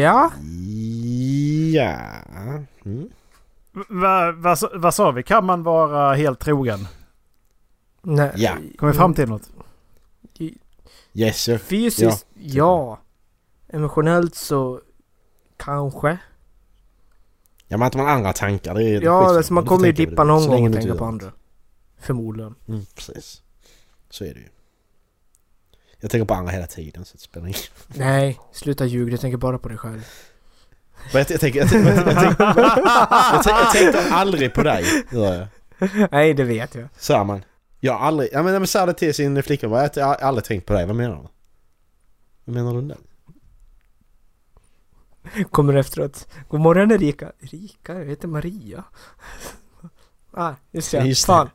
S2: Ja,
S1: Ja. Mm.
S3: V- Vad vad sa- vad sa vi? Kan man vara helt trogen?
S2: nej.
S1: Ja.
S3: Kom vi fram till något?
S1: Yes sir.
S2: Fysiskt, ja. Emotionellt så kanske.
S1: Ja men att man har andra tankar det är det
S2: Ja,
S1: skitsamma.
S2: alltså man
S1: Du
S2: kommer ju
S1: tänker på
S2: dippa
S1: det.
S2: någon
S1: Så länge
S2: gång och
S1: du
S2: tänka
S1: dör.
S2: på andra. Förmodligen.
S1: Mm, precis. Så är det ju. Jag tänker på andra hela tiden så det spelar ingen
S2: Nej, sluta ljuga. Du tänker bara på dig själv.
S1: Men jag, jag, tänker- jag, tänker- jag, tänker- jag, tänker- jag tänkte aldrig på dig, gör jag.
S2: Nej, det vet jag.
S1: Så här, man. Jag har aldrig... Ja men när man säger det till sin flickvän, bara, jag har aldrig tänkt på dig, vad menar du? Vad menar du nu?
S2: Kommer efteråt. God morgon Erika. Erika? Jag heter Maria. Ah, just det.
S1: Just det.
S2: Fan.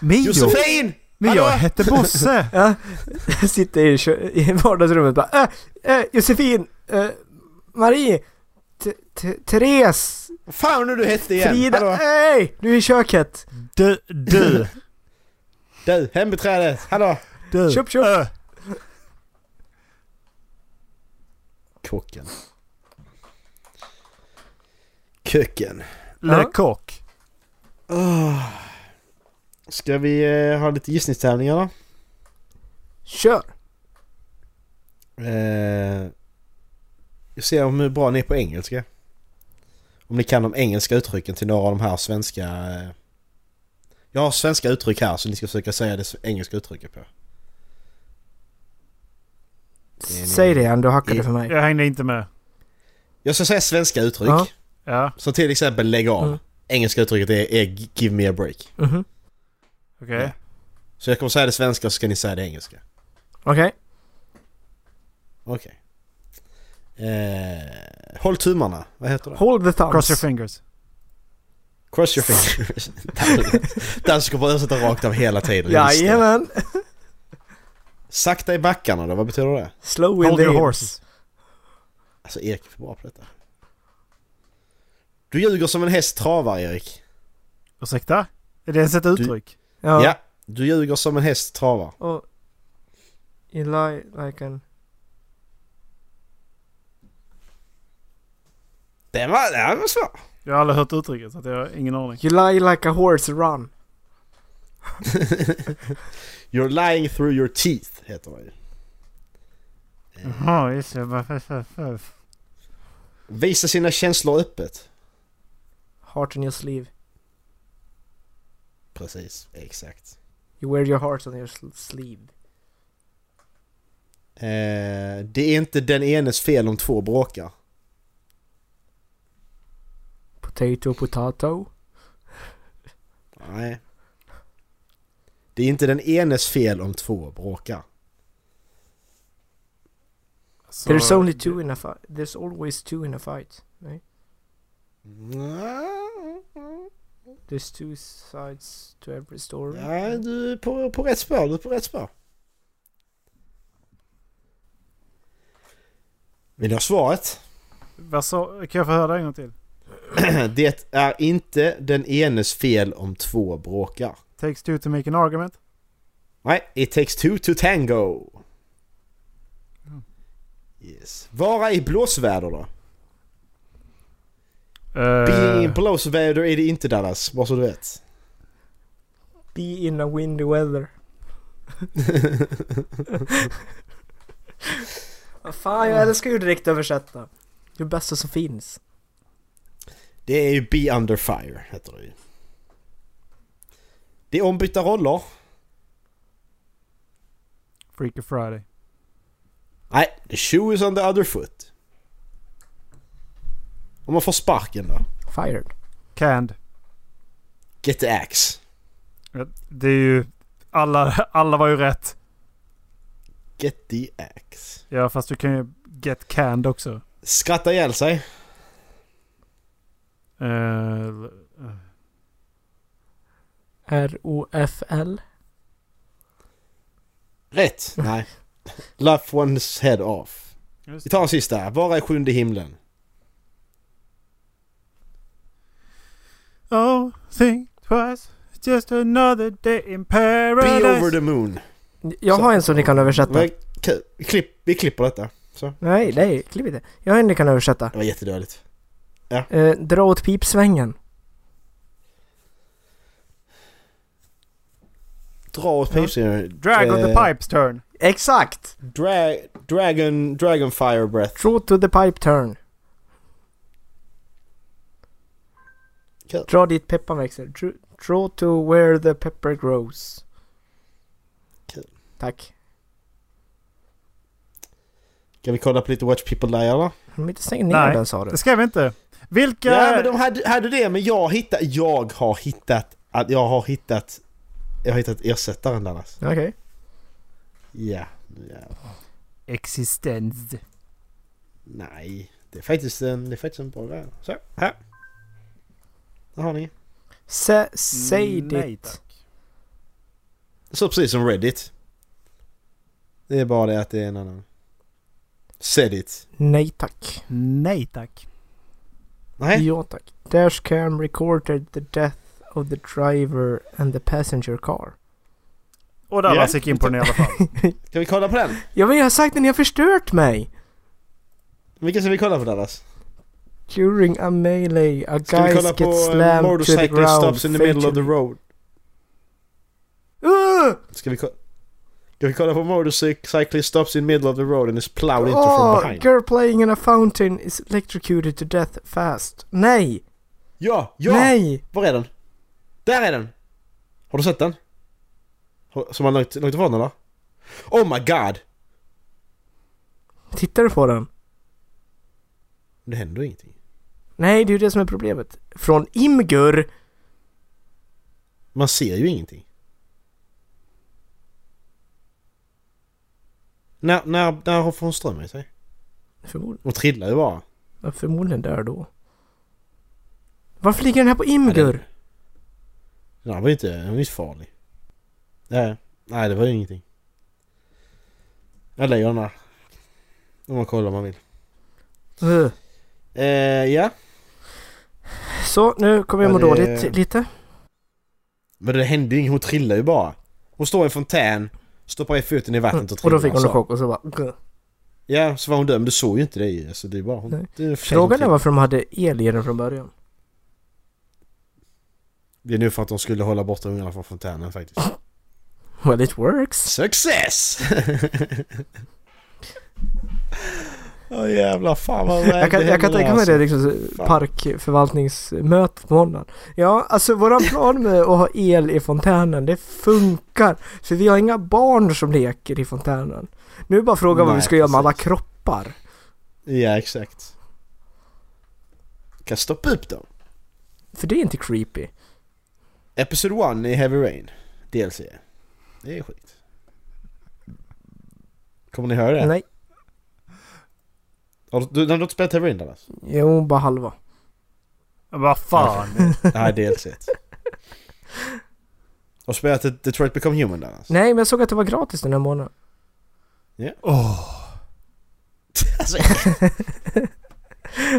S3: Mio!
S1: Josefin!
S3: Men jag hette Bosse!
S2: Ja, jag sitter i, kö- i vardagsrummet och bara äh, äh, Josefin! Äh, Marie! T- T- Therese!
S1: Vad Fan nu du hette igen!
S2: Frida!
S1: Hallå?
S2: Nej! Du är i köket!
S3: Du, du,
S1: Du, hembiträdet! Hallå!
S3: du.
S2: Köp, köp.
S3: Ö.
S1: Kocken. Köken.
S3: Le
S2: Ja.
S3: kock.
S1: Åh. Ska vi eh, ha lite gissningstävlingar då?
S2: Kör!
S1: Eh, jag ser om hur bra ni är på engelska. Om ni kan de engelska uttrycken till några av de här svenska... Eh, jag har svenska uttryck här så ni ska försöka säga det s- engelska uttrycket på. är
S2: Säg det igen, du hackade
S1: i-
S2: för mig.
S3: Jag hängde inte med.
S1: Jag ska säga svenska uttryck.
S2: Ja.
S3: Ja,
S1: Som till exempel lägg av.
S2: Mm.
S1: Engelska uttrycket är, är give me a break.
S2: Mhm.
S3: okej.
S1: Ja. Så jag kommer säga det svenska så ska ni säga det engelska.
S2: Okej.
S1: Okej. Eh, håll tummarna. Vad heter det?
S2: Hold the thumbs.
S3: Cross your fingers.
S1: Cross your fingers. Den ska bara översätta rakt av hela tiden. Just det.
S2: Jajamän!
S1: Sakta i backarna då, vad betyder det?
S2: Slow in
S3: Hold
S2: the
S3: your
S2: heels.
S3: horses.
S1: Alltså Erik är för bra på detta. Du ljuger som en häst travar Erik.
S3: Ursäkta? Är det ens ett uttryck?
S1: Ja.
S2: Ja.
S1: Du ljuger som en häst travar.
S2: Och... You lie like an...
S1: Den var, den var svår.
S3: Jag har aldrig hört uttrycket så att jag har ingen aning.
S2: You lie like a horse run.
S1: You're lying through your teeth heter det ju.
S3: Jaha, just det. Varför- varför-
S1: Visa sina känslor öppet.
S2: Heart on your sleeve.
S1: Precis, exakt.
S2: You wear your heart on your sl- sleeve.
S1: Eh, det är inte den enes fel om två bråkar.
S2: Potato, potato.
S1: Nej. Det är inte den enes fel om två bråkar.
S3: Så-
S2: There's only two in a fight. There's always two in a fight. Nej. There's two sides to every story.
S1: Nej, du är på, på rätt spår. Du är på rätt spår. Vill ni ha svaret?
S3: Vad sa... Kan jag få höra en gång till?
S1: Det är inte den enes fel om två bråkar.
S3: Takes two to make an argument.
S1: Nej, it takes two to tango. Yes. Vara i blåsväder då? Being in
S3: Uh,
S1: blåsväder är det inte Dallas, bara så du vet.
S2: Be in a windy weather. Vad fan, jag älskar ju direkt översätta. Det bästa som finns.
S1: Det är ju Be Under Fire, heter det ju. Det är ombytta roller.
S3: Freaky Friday.
S1: Nej, the shoe is on the other foot. Om man får sparken då?
S2: Fired.
S3: Canned.
S1: Get the axe.
S3: Det är ju... Alla, alla var ju rätt.
S1: Get the axe.
S3: Ja, fast du kan ju get canned också.
S1: Skratta ihjäl sig.
S3: Eh, l- eh,
S2: R-O-F-L.
S1: Rätt. Nej. Laugh one's head off.
S3: just
S1: Vi tar en sista. Vara i sjunde himlen.
S3: Ja, Oh, think twice. It's just another day in paradise.
S1: Be over the moon.
S2: Jag har en som ni kan översätta.
S1: Men, k- klipp, vi klipper detta. Så.
S2: Nej, nej, klipp inte. Jag har en ni kan översätta.
S1: Det var jättedåligt.
S2: Eh, dra åt pipsvängen.
S1: Dra åt
S3: Ja.
S1: pipsen.
S3: Drag on the
S1: Eh,
S3: pipe's turn.
S2: Exakt!
S1: Dra- dragon, dragon fire breath.
S2: Throw to the pipe turn.
S1: Kul.
S2: Dra dit pepparn växer. Dr- Draw to where the pepper grows.
S1: Kul.
S2: Tack.
S1: Kan vi kolla på lite Watch People Die eller?
S2: De inte stängt ner
S3: Nej.
S2: den sa du.
S3: Det skrev vi inte. Vilka...
S1: Ja men de hade, hade det men jag hittat, jag har hittat, att jag har hittat, jag har hittat ersättaren Dallas.
S2: Okej.
S1: Ja, ja,
S3: Existens.
S1: nej. Det är faktiskt en, det är faktiskt en bra grej. Så, här. Där har ni.
S2: Sä, säg
S3: Nej,
S2: ditt...
S3: tack.
S1: Det står precis som Reddit. Det är bara det att det är en annan. Sedit.
S2: Nej tack.
S3: Nej tack.
S1: Nej.
S2: Ja tack. Dashcam recorded the death of the driver and the passenger car.
S3: Och där
S1: Ja.
S3: yeah. gick in på den i alla fall.
S1: Ska vi kolla på den?
S2: Jag vill ha sagt det, ni har förstört mig!
S1: Vilken ska vi kolla på Dallas?
S2: During a melee, a
S1: Ska vi
S2: guy
S1: kolla
S2: gets
S1: på eh,
S2: slammed to the
S1: Motorcycle
S2: ground.
S1: Stops in the Middle of the Road?
S2: Ugh!
S1: Ska vi kolla? Ska vi kolla på Motorcycle Stops in the Middle of the Road and is plowed into from
S2: Oh,
S1: behind?
S2: girl playing in a fountain is electrocuted to death fast. Nej!
S1: Ja, ja!
S2: Nej!
S1: Var är den? Där är den! Har du sett den? Har- Som man långt, långt ifrån eller? Oh my god!
S2: Tittar du på den?
S1: Det händer ingenting.
S2: Nej, det är ju det som är problemet. Från Imgur!
S1: Man ser ju ingenting. När, när, när får hon ström i sig?
S2: Förmod,
S1: Hon trillar ju bara.
S2: ja, förmodligen där då. Varför ligger den här på Imgur?
S1: Den här var ju inte, den var ju inte farlig. Nej, nej det var ju ingenting. Jag lägger den här. Om man kollar om man vill.
S2: Ugh.
S1: Eh, ja.
S2: Så, nu kommer jag må
S1: Ja, det-
S2: dåligt lite.
S1: Men det hände ju inget, hon trillar ju bara. Hon står i en fontän, stoppar i foten i vattnet och alltså.
S2: Och
S1: trillar.
S2: då fick hon
S1: så.
S2: en chock och så bara... äh. ugh.
S1: Ja, så var hon dömd. Du såg ju inte det ju. Alltså det är bara hon.
S2: Nej.
S1: Det är en tjej som
S2: Frågan är
S1: trillar.
S2: varför de hade el i den från början.
S1: Det är nu för att de skulle hålla borta ungarna från fontänen faktiskt.
S2: Well, it works.
S1: Success! Åh jävlar fan vad
S2: Jag kan, jag kan tänka mig det liksom, så-
S1: Fan.
S2: parkförvaltningsmötet på måndagen. Ja, alltså våran plan med att ha el i fontänen, det funkar. För vi har inga barn som leker i fontänen. Nu är bara frågan vad
S1: Nej,
S2: vi ska göra med alla
S1: precis.
S2: kroppar.
S1: Ja exakt. Kan stoppa upp dem.
S2: För det är inte creepy.
S1: Episode 1 i Heavy Rain. DLC. Det är sjukt. Kommer ni höra det?
S2: Nej,
S1: Har du- Du, har du inte spelat Heavy Rain Dallas?
S2: jo, bara halva.
S3: Vad fan.
S1: Det här är DLC. Har du spelat ett Detroit Become Human Dallas?
S2: Nej, men jag såg att det var gratis den här månaden.
S3: Åh.
S1: Alltså,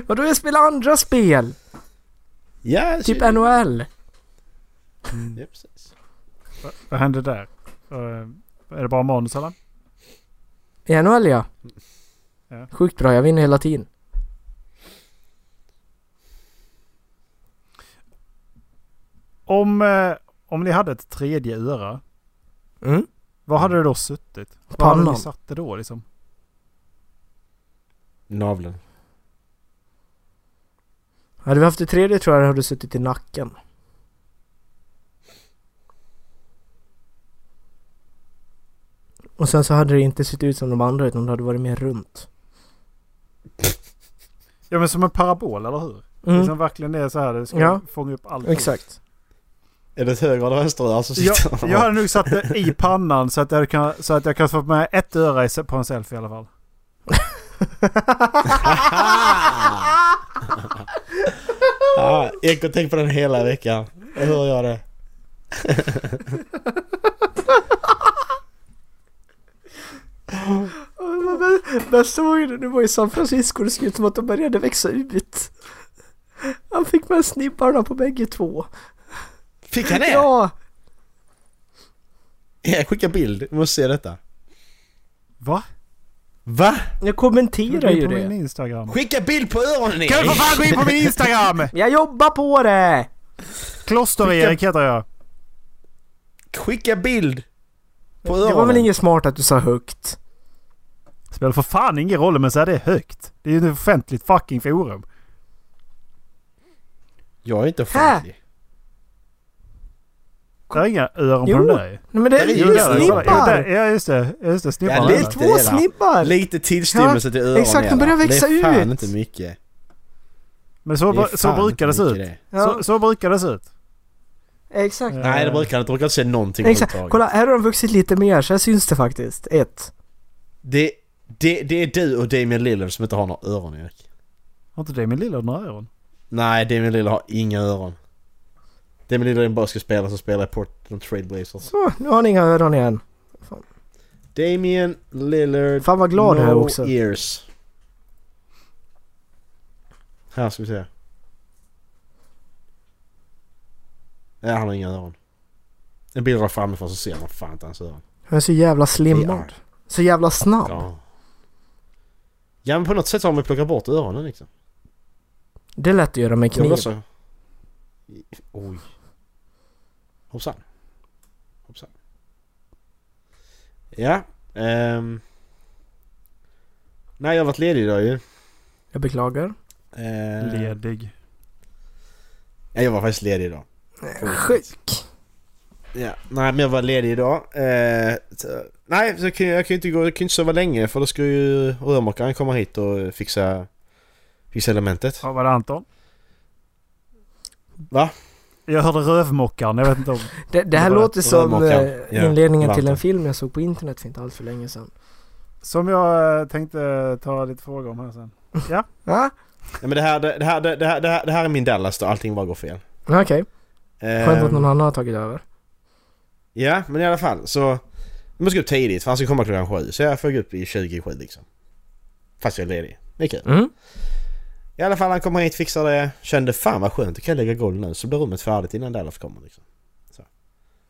S2: Och då jag spelar andra spel!
S1: ja,
S2: Typ
S1: så-
S2: NHL.
S1: Ja, precis.
S3: Vad- Vad hände där? Eh, Är det bara manus eller?
S2: I NHL ja.
S3: Ja.
S2: Sjukt bra, jag vinner hela tiden.
S3: Om, eh, om ni hade ett tredje öra,
S2: Mm.
S3: vad hade det då suttit? Vad hade
S2: Pannan.
S3: ni satt det då liksom?
S1: Naveln.
S2: Hade vi haft det tredje tror jag det hade suttit i nacken. Och sen så hade det inte sett ut som de andra utan det hade varit mer runt.
S3: Ja men som en parabol eller hur?
S2: Mm,
S3: Liksom verkligen det är så här, det ska
S2: Ja.
S3: fånga upp allt.
S2: Exakt.
S1: Är det ett höger eller vänsteröra som
S3: Jag,
S1: sitter?
S3: jag hade nog satt det i pannan så att jag kan, så att jag kan få med ett öra i se- på en selfie i alla fall.
S1: Ja, Ek har tänkt på den hela veckan. Jag hör jag det.
S2: Bästa var ju det, det var i San Francisco det såg ut som att de började växa ut. Han fick med snibbarna på bägge två.
S1: Fick han det? Ja.
S2: Ja!
S1: Jag skickar bild, jag måste se detta.
S3: Va?
S1: Va?
S2: Jag kommenterar
S3: in
S2: ju
S3: på min
S2: det.
S3: Instagram.
S1: Skicka bild på öronen
S3: Kan du för fan gå in på min Instagram?
S2: Jag jobbar på det!
S3: Kloster-Erik heter jag.
S1: Skicka bild! På öronen.
S2: Det var väl inget smart att du sa högt?
S3: Spelar för fan ingen roll men så är det högt. Det är ju ett offentligt fucking forum.
S1: Jag är inte offentlig.
S3: Det är inga öron
S2: Jo.
S3: på den där ju.
S2: Nej men det är
S1: Det är
S3: Jo,
S1: ju
S2: ju
S3: där, kolla. Jo, där.
S2: snippar!
S3: Ja just det. Ja, Just det.
S1: Ja,
S3: Snipparna.
S2: Det
S3: där.
S2: är
S1: lite
S2: två
S1: det där.
S2: snippar!
S1: Lite tillstymmelse till öronen
S2: exakt, de
S1: är
S2: börjar
S1: det.
S2: växa
S1: Det är fan
S2: ut.
S1: inte mycket.
S3: Men så,
S1: är
S3: br- så
S1: fan
S3: brukar det se
S1: inte
S3: ut.
S1: mycket
S2: Ja,
S3: Så, så brukar det se ut.
S2: Exakt.
S3: Ja.
S1: Nej det brukar inte, brukar inte se någonting
S2: Exakt.
S1: överhuvudtaget.
S2: Kolla, här har de vuxit lite mer, så här syns det faktiskt. Ett.
S1: Det, det, det är du och Damien Lillard som inte har några öron Erik.
S3: Har inte Damien Lillard några öron?
S1: Nej Damien Lillard har inga öron. Damien Lillard är en basketspelare som spelar i Portland Trailblazers.
S2: Så, nu har ni inga öron igen.
S1: Damien Lillard...
S2: Fan vad glad
S1: no
S2: jag är också.
S1: ears. Här ska vi se. Nej han har inga öron. En bild där framifrån så ser man fan inte hans öron.
S2: Han är så jävla
S1: Ja.
S2: slimmad. Så jävla snabb.
S1: Ja. ja men på något sätt har man plockat bort öronen liksom.
S2: Det är lätt att göra med
S1: Jag vill
S2: kniv.
S1: också... Oj. Hoppsan. Hoppsan. Ja. ehm. Nej, jag har varit ledig idag ju.
S2: Jag beklagar.
S1: Eh,
S3: Ledig.
S1: Ja, jag var faktiskt ledig idag.
S2: Sjuk.
S1: Ja. Nej, men jag var ledig idag. Eh, så, nej, så kan jag, jag kan ju inte gå... Jag kan ju inte sova länge för då ska ju rörmokaren komma hit och fixa... Fixa elementet.
S3: Ja, var det Anton?
S1: Va?
S3: Jag hörde rövmockaren. Jag vet inte om...
S2: Det, det här
S3: Det var-
S2: låter
S1: det var
S2: som
S1: makan.
S2: eh,
S1: Ja,
S2: inledningen till
S1: vatten.
S2: en film jag såg på internet för inte allt för länge sedan.
S3: Som jag eh, tänkte ta lite frågor om här sen.
S2: Ja,
S1: Nej, men det här, det, det här, det, det, här, det, här, det här är min Dallas då. Allting bara går fel.
S2: Ah, okej. Skönt att
S1: Ehm,
S2: någon annan har tagit över.
S1: Ja, men i alla fall så... Jag måste gå upp tidigt för han ska komma klockan sju. Så jag får gå upp i 20 i sju liksom. Fast jag är ledig. Det är kul.
S2: Mm.
S1: I alla fall han kommer hit, fixar det. Kände fan vad skönt, då kan jag lägga golv nu. Så blir rummet färdigt innan Dallas kommer liksom. Så.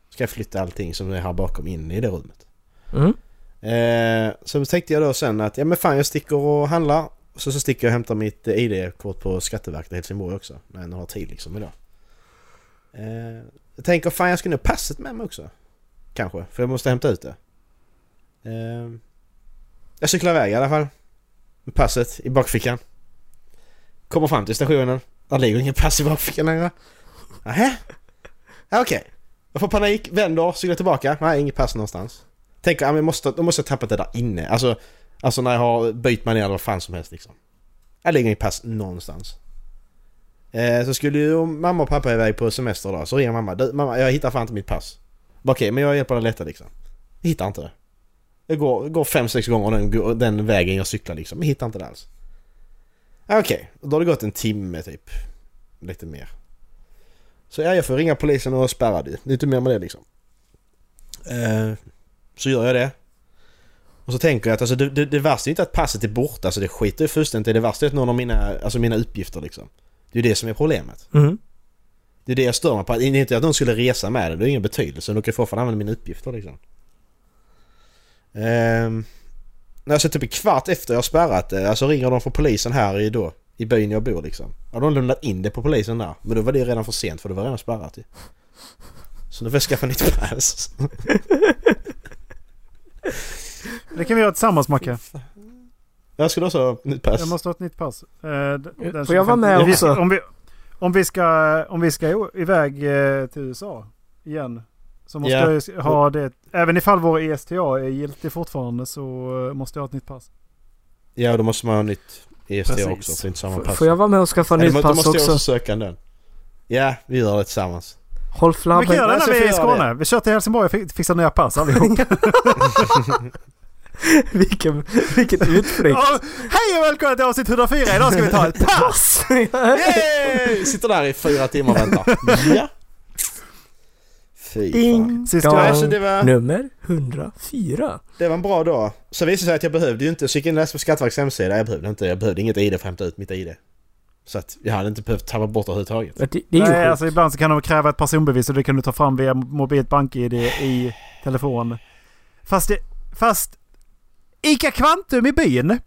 S1: Ska jag flytta allting som är här bakom in i det rummet.
S2: Mm.
S1: Eh, så tänkte jag då sen att ja men fan jag sticker och handlar. Så, så sticker jag och hämtar mitt eh, ID-kort på Skatteverket i Helsingborg också. När jag har tid liksom idag. Eh, jag tänker fan jag ska nog ha passet med mig också. Kanske, för jag måste hämta ut det. Eh, jag cyklar iväg i alla fall. Med passet i bakfickan. Kommer fram till stationen. Där ligger ingen pass i bakfickan längre. Nähä? Ja, Okej. Jag får panik, vänder, cyklar tillbaka. Nej, inget pass någonstans. Tänker, ja, men jag måste, då måste jag tappat det där inne. Alltså, alltså när jag har bytt manér eller vad fan som helst liksom. Jag lägger inget pass någonstans. Eh, så skulle ju mamma och pappa iväg på semester då, så ringer mamma. Du, mamma, jag hittar fan inte mitt pass. Bara, Okej, men jag hjälper dig att leta liksom. Jag hittar inte det. Jag går, går fem, sex gånger den, den vägen jag cyklar liksom, men hittar inte det alls. Ja, Okej, och då har det gått en timme typ. Lite mer. Så ja, jag får ringa polisen och spärra det. Det är inte mer med det liksom. Eh, så gör jag det. Och så tänker jag att alltså, det, det, det värsta är ju inte att passet är borta, alltså det skiter jag fullständigt i. Det värsta är att någon av mina, alltså, mina uppgifter liksom. Det är ju det som är problemet.
S2: Mm.
S1: Det är det jag stör mig på. Det är inte att någon skulle resa med det, det har ingen betydelse. De kan ju fortfarande använda mina uppgifter liksom. Ehm, när jag ser typ en kvart efter jag har spärrat det, alltså ringer de från polisen här i, då, i byn jag bor liksom. Ja, de har lämnat in det på polisen där. Men då var det redan för sent för det var redan spärrat ju. Så nu får jag skaffa nytt pass.
S3: Det kan vi göra tillsammans Macke.
S1: Jag skulle också ha nytt pass.
S3: Jag måste ha ett nytt pass. Eh, d- den
S2: Får
S3: som
S2: jag vara
S3: kan-
S2: med
S3: Om vi-
S2: också?
S3: Om vi, om vi ska, om vi ska o- iväg eh, till USA igen. Så måste
S1: Ja.
S3: jag ju s- ha det. Även ifall vår E ESTA är giltig fortfarande så eh, måste jag ha ett nytt pass.
S1: Ja, då måste man ha nytt EST
S3: Precis.
S1: också. För det är inte samma
S2: F-
S1: pass.
S2: Får jag vara med och skaffa
S1: Nej,
S2: nytt
S1: då
S2: pass
S1: måste jag
S2: också?
S1: också söka den. Ja, vi gör det tillsammans.
S2: Håll
S3: vi kan
S2: flabben.
S3: göra det
S1: jag
S3: när
S1: ska
S3: vi är i
S1: få göra
S3: Skåne. Vi kör till Helsingborg och fi- fixar nya pass allihop.
S2: Vilken, vilken utflykt.
S3: Ja, Hej och välkomna till avsnitt 104. Idag ska vi ta ett pass.
S2: Pass!
S1: Yay! Sitter där i fyra timmar och väntar. Ja. Fy fan.
S2: Ding
S3: Sist jag-
S1: Nej,
S2: dong.
S1: Alltså det var,
S2: Nummer 104.
S1: det var en bra dag. Så visade det sig att jag behövde ju inte, så gick jag in och läste på Skatteverkets hemsida. Jag behövde inte, jag behövde inget ID för att hämta ut mitt ID. Så att jag hade inte behövt tappa bort det överhuvudtaget.
S2: Det, det är ju
S3: Nej,
S2: sjukt.
S3: alltså ibland så kan de kräva ett personbevis och det kan du ta fram via mobilt bank-id i telefon. Fast, det, fast ICA Kvantum i byn,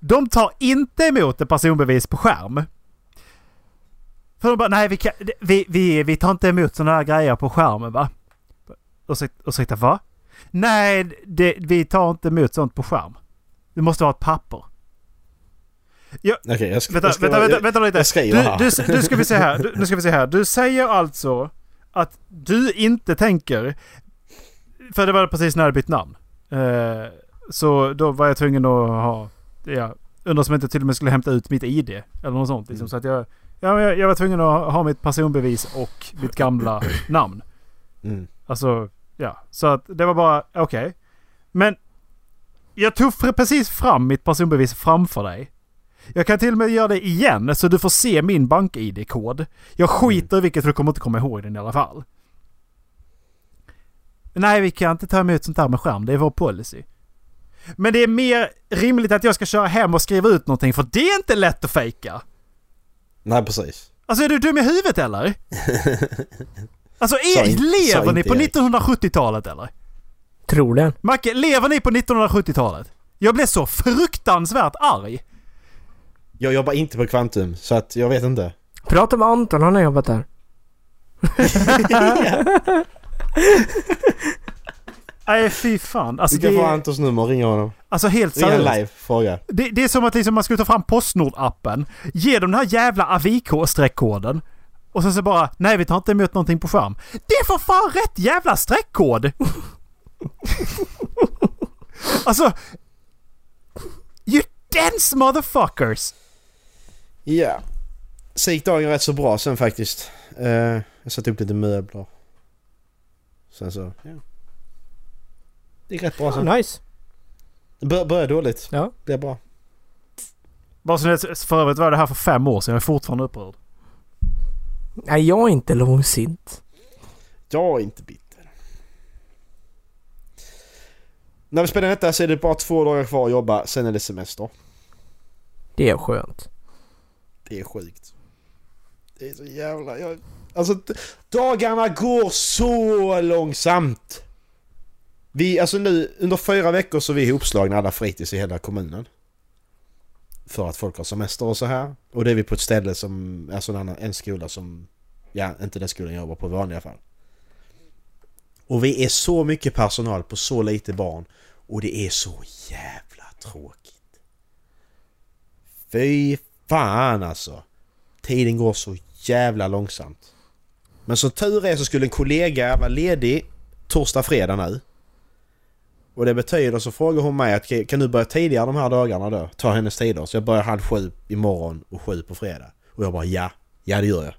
S3: de tar inte emot ett personbevis på skärm. För de bara, nej vi, kan, vi, vi, vi tar inte emot sådana här grejer på skärmen va? Ursäkta, ursäkta va? Nej, det, vi tar inte emot sånt på skärm. Du måste ha ett papper.
S1: Okej, jag ska...
S3: Vänta,
S1: jag ska,
S3: vänta,
S1: jag-
S3: vänta, vänta lite.
S1: jag skriver här.
S3: du, du, du ska vi se här. Du, nu ska vi se här. Du säger alltså att du inte tänker... För det var precis när jag bytt namn. Eh, så då var jag tvungen att ha... Ja, undrar som jag inte till och med skulle hämta ut mitt ID. Eller något sånt. Liksom,
S1: Mm.
S3: Så att jag, ja, men jag, jag var tvungen att ha, ha mitt personbevis och mitt gamla namn.
S1: Mm.
S3: Alltså, ja. Så att det var bara, okej. Men jag tog fr- precis fram mitt personbevis framför dig. Jag kan till och med göra det igen så du får se min bank-id-kod. Jag
S1: Mm.
S3: skiter i vilket för du kommer inte komma ihåg den i alla fall. Nej, vi kan inte ta emot sånt här med skärm. Det är vår policy. Men det är mer rimligt att jag ska köra hem och skriva ut någonting för det är inte lätt att fejka.
S1: Nej, precis.
S3: Alltså är du dum i huvudet eller? Alltså
S1: Sa
S3: är,
S1: in- sa
S3: lever ni
S1: inte
S3: på
S1: Erik.
S3: 1970-talet eller?
S2: Troligen.
S3: Macke, lever ni på 1970-talet? Jag blev så fruktansvärt arg.
S1: Jag jobbar inte på Kvantum, så att jag vet inte.
S2: Prata med Anton, han har jobbat där.
S3: Nej fy fan. Alltså,
S1: Du kan
S3: det,
S1: få Antons nummer och ringa honom.
S3: alltså helt
S1: Ringa
S3: seriöst.
S1: live, fråga.
S3: Det, det är som att liksom man skulle ta fram Postnord-appen, ge dem den här jävla avik-streckkoden och sen så bara nej vi tar inte emot någonting på skärm. Det är för fan rätt jävla streckkod! alltså... You dense motherfuckers!
S1: Ja. Så gick dagen rätt så bra sen faktiskt. Eh, jag satte upp lite möbler. Sen så, ja. Det gick rätt bra sen.
S2: Ah, nice.
S1: Det bör, började dåligt.
S2: Ja.
S1: Blev bra.
S3: Bara så ni vet, för övrigt var det här för fem år sedan, jag är fortfarande upprörd.
S2: Nej, jag är inte långsint.
S1: Jag är inte bitter. När vi spelar in detta så är det bara två dagar kvar att jobba, sen är det semester.
S2: Det är skönt.
S1: Det är sjukt. Det är så jävla... Jag, alltså, d- dagarna går så långsamt! Vi, alltså nu, under fyra veckor så är vi ihopslagna alla fritids i hela kommunen. För att folk har semester och så här. Och det är vi på ett ställe som, alltså en, annan, en skola som, ja inte den skolan jag jobbar på i vanliga fall. Och vi är så mycket personal på så lite barn. Och det är så jävla tråkigt. Fy fan alltså! Tiden går så jävla långsamt. Men som tur är så skulle en kollega vara ledig torsdag, fredag nu. Och det betyder så frågar hon mig att "Okej, kan du börja tidigare de här dagarna då? Ta hennes tider. Så jag börjar halv sju imorgon och sju på fredag. Och jag bara ja, ja det gör jag.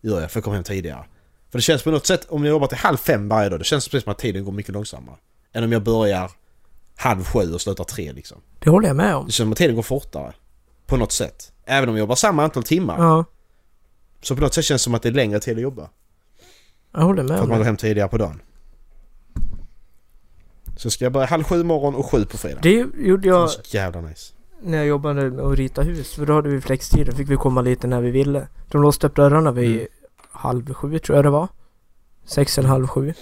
S1: Det gör jag för jag kommer hem tidigare. För det känns på något sätt, om jag jobbar till halv fem varje dag, det känns precis som att tiden går mycket långsammare. Än om jag börjar halv sju och slutar tre liksom.
S2: Det håller jag med om.
S1: Det känns som att tiden går fortare. På något sätt. Även om jag jobbar samma antal timmar.
S2: Ja,
S1: Så på något sätt känns det som att det är längre tid att jobba.
S2: jag håller med
S1: För att man
S2: om
S1: går
S2: det.
S1: hem tidigare på dagen. Så ska jag börja halv sju imorgon och sju på fredag. Det
S2: Det gjorde
S1: är
S2: jag
S1: så jävla nice.
S2: när jag jobbade med att rita hus. För då hade vi flextid. Då fick vi komma lite när vi ville. De låste upp dörrarna vid
S1: Mm.
S2: halv sju tror jag det var. Sex eller halv sju.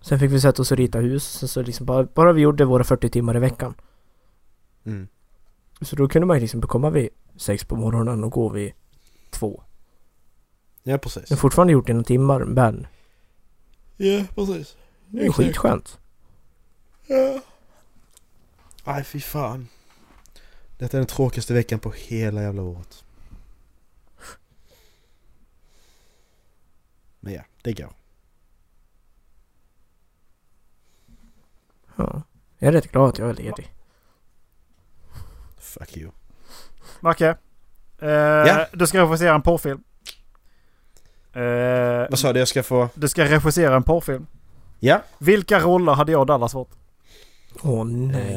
S2: Sen fick vi sätta oss och rita hus. Sen så liksom bara, bara vi gjorde våra 40 timmar i veckan.
S1: Mm.
S2: Så då kunde man ju liksom komma vid sex på morgonen och gå vid två.
S1: Ja precis.
S2: Jag har fortfarande gjort det i några timmar men
S1: Ja precis.
S2: det är skitskönt.
S1: Ja. Aj fy fan. Detta är den tråkigaste veckan på hela jävla året. Men ja, det går.
S2: Ja. Jag är rätt glad att jag är ledig.
S1: Fuck you.
S3: Macke. Eh,
S1: Ja?
S3: Du ska regissera en porrfilm. Eh,
S1: Vad sa du? Jag ska få...
S3: du ska regissera en porrfilm.
S1: Ja.
S3: Vilka roller hade jag och Dallas fått?
S2: Åh nej.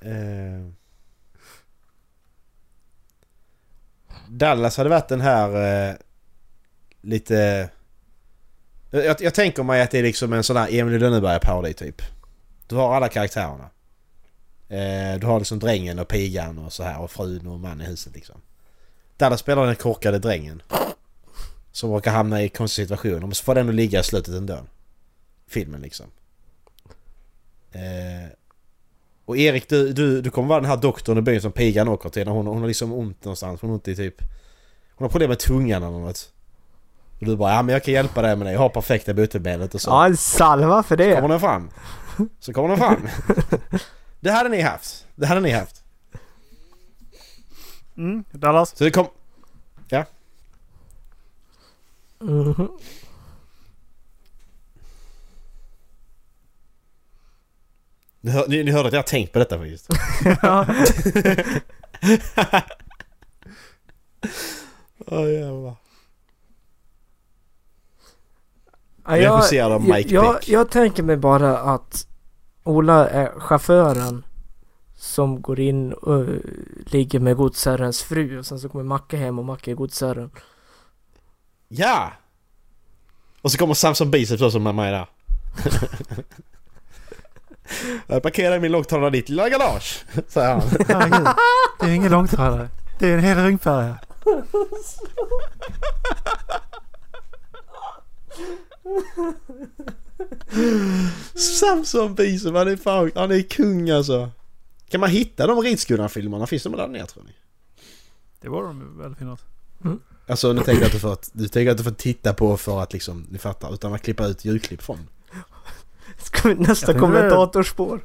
S1: Eh, eh. Dallas hade varit den här eh, lite... Jag, jag tänker mig att det är liksom en sån här Emil i Lönneberga-parodi typ. Du har alla karaktärerna. Eh, du har liksom drängen och pigan och så här och frun och man i huset liksom. Där det spelar den korkade drängen. Som råkar hamna i konstiga situationer. Men så får den att ligga i slutet ändå. Filmen liksom. Eh, och Erik, du, du, du kommer vara den här doktorn i byn som pigan åker till. När hon, hon har liksom ont någonstans. Hon har ont i typ... Hon har problem med tungan eller något. Och du bara ja men jag kan hjälpa dig med det. Jag har perfekta botemedlet och så.
S2: Ja, en salva för
S1: Så kommer
S2: det.
S1: den fram. Så kommer den fram. Det hade ni haft. Det hade ni haft.
S3: Mm, Dallas?
S1: Så det kom...
S2: Mhm.
S1: Ni, hör, ni, ni hörde att jag har tänkt på detta faktiskt.
S3: ja.
S1: Åh jävlar.
S2: Ja,
S1: Regisserad av Mike
S2: jag,
S1: Beck.
S2: jag tänker mig bara att Ola är chauffören som går in och eh, ligger med godsherrens fru och sen så kommer Macke hem och Macke är godsherren.
S1: Ja! Och så kommer Samson Biceps också med mig där. jag parkerar min lågtalare i ditt lilla garage. Säger han.
S3: Herregud. Det är ingen långtradare. Det är en hel ringfärja.
S1: Samson Biceps, han är fan, han är kung alltså. Kan man hitta de Ridskolan-filmerna? Finns de där nere tror ni?
S3: Det var de väl finnas.
S1: Alltså nu tänker jag inte för att du tänker att du får titta på för att liksom, ni fattar, utan att klippa ut ljudklipp från.
S2: Ska vi nästa
S3: tänkte-
S2: kommentatorspår?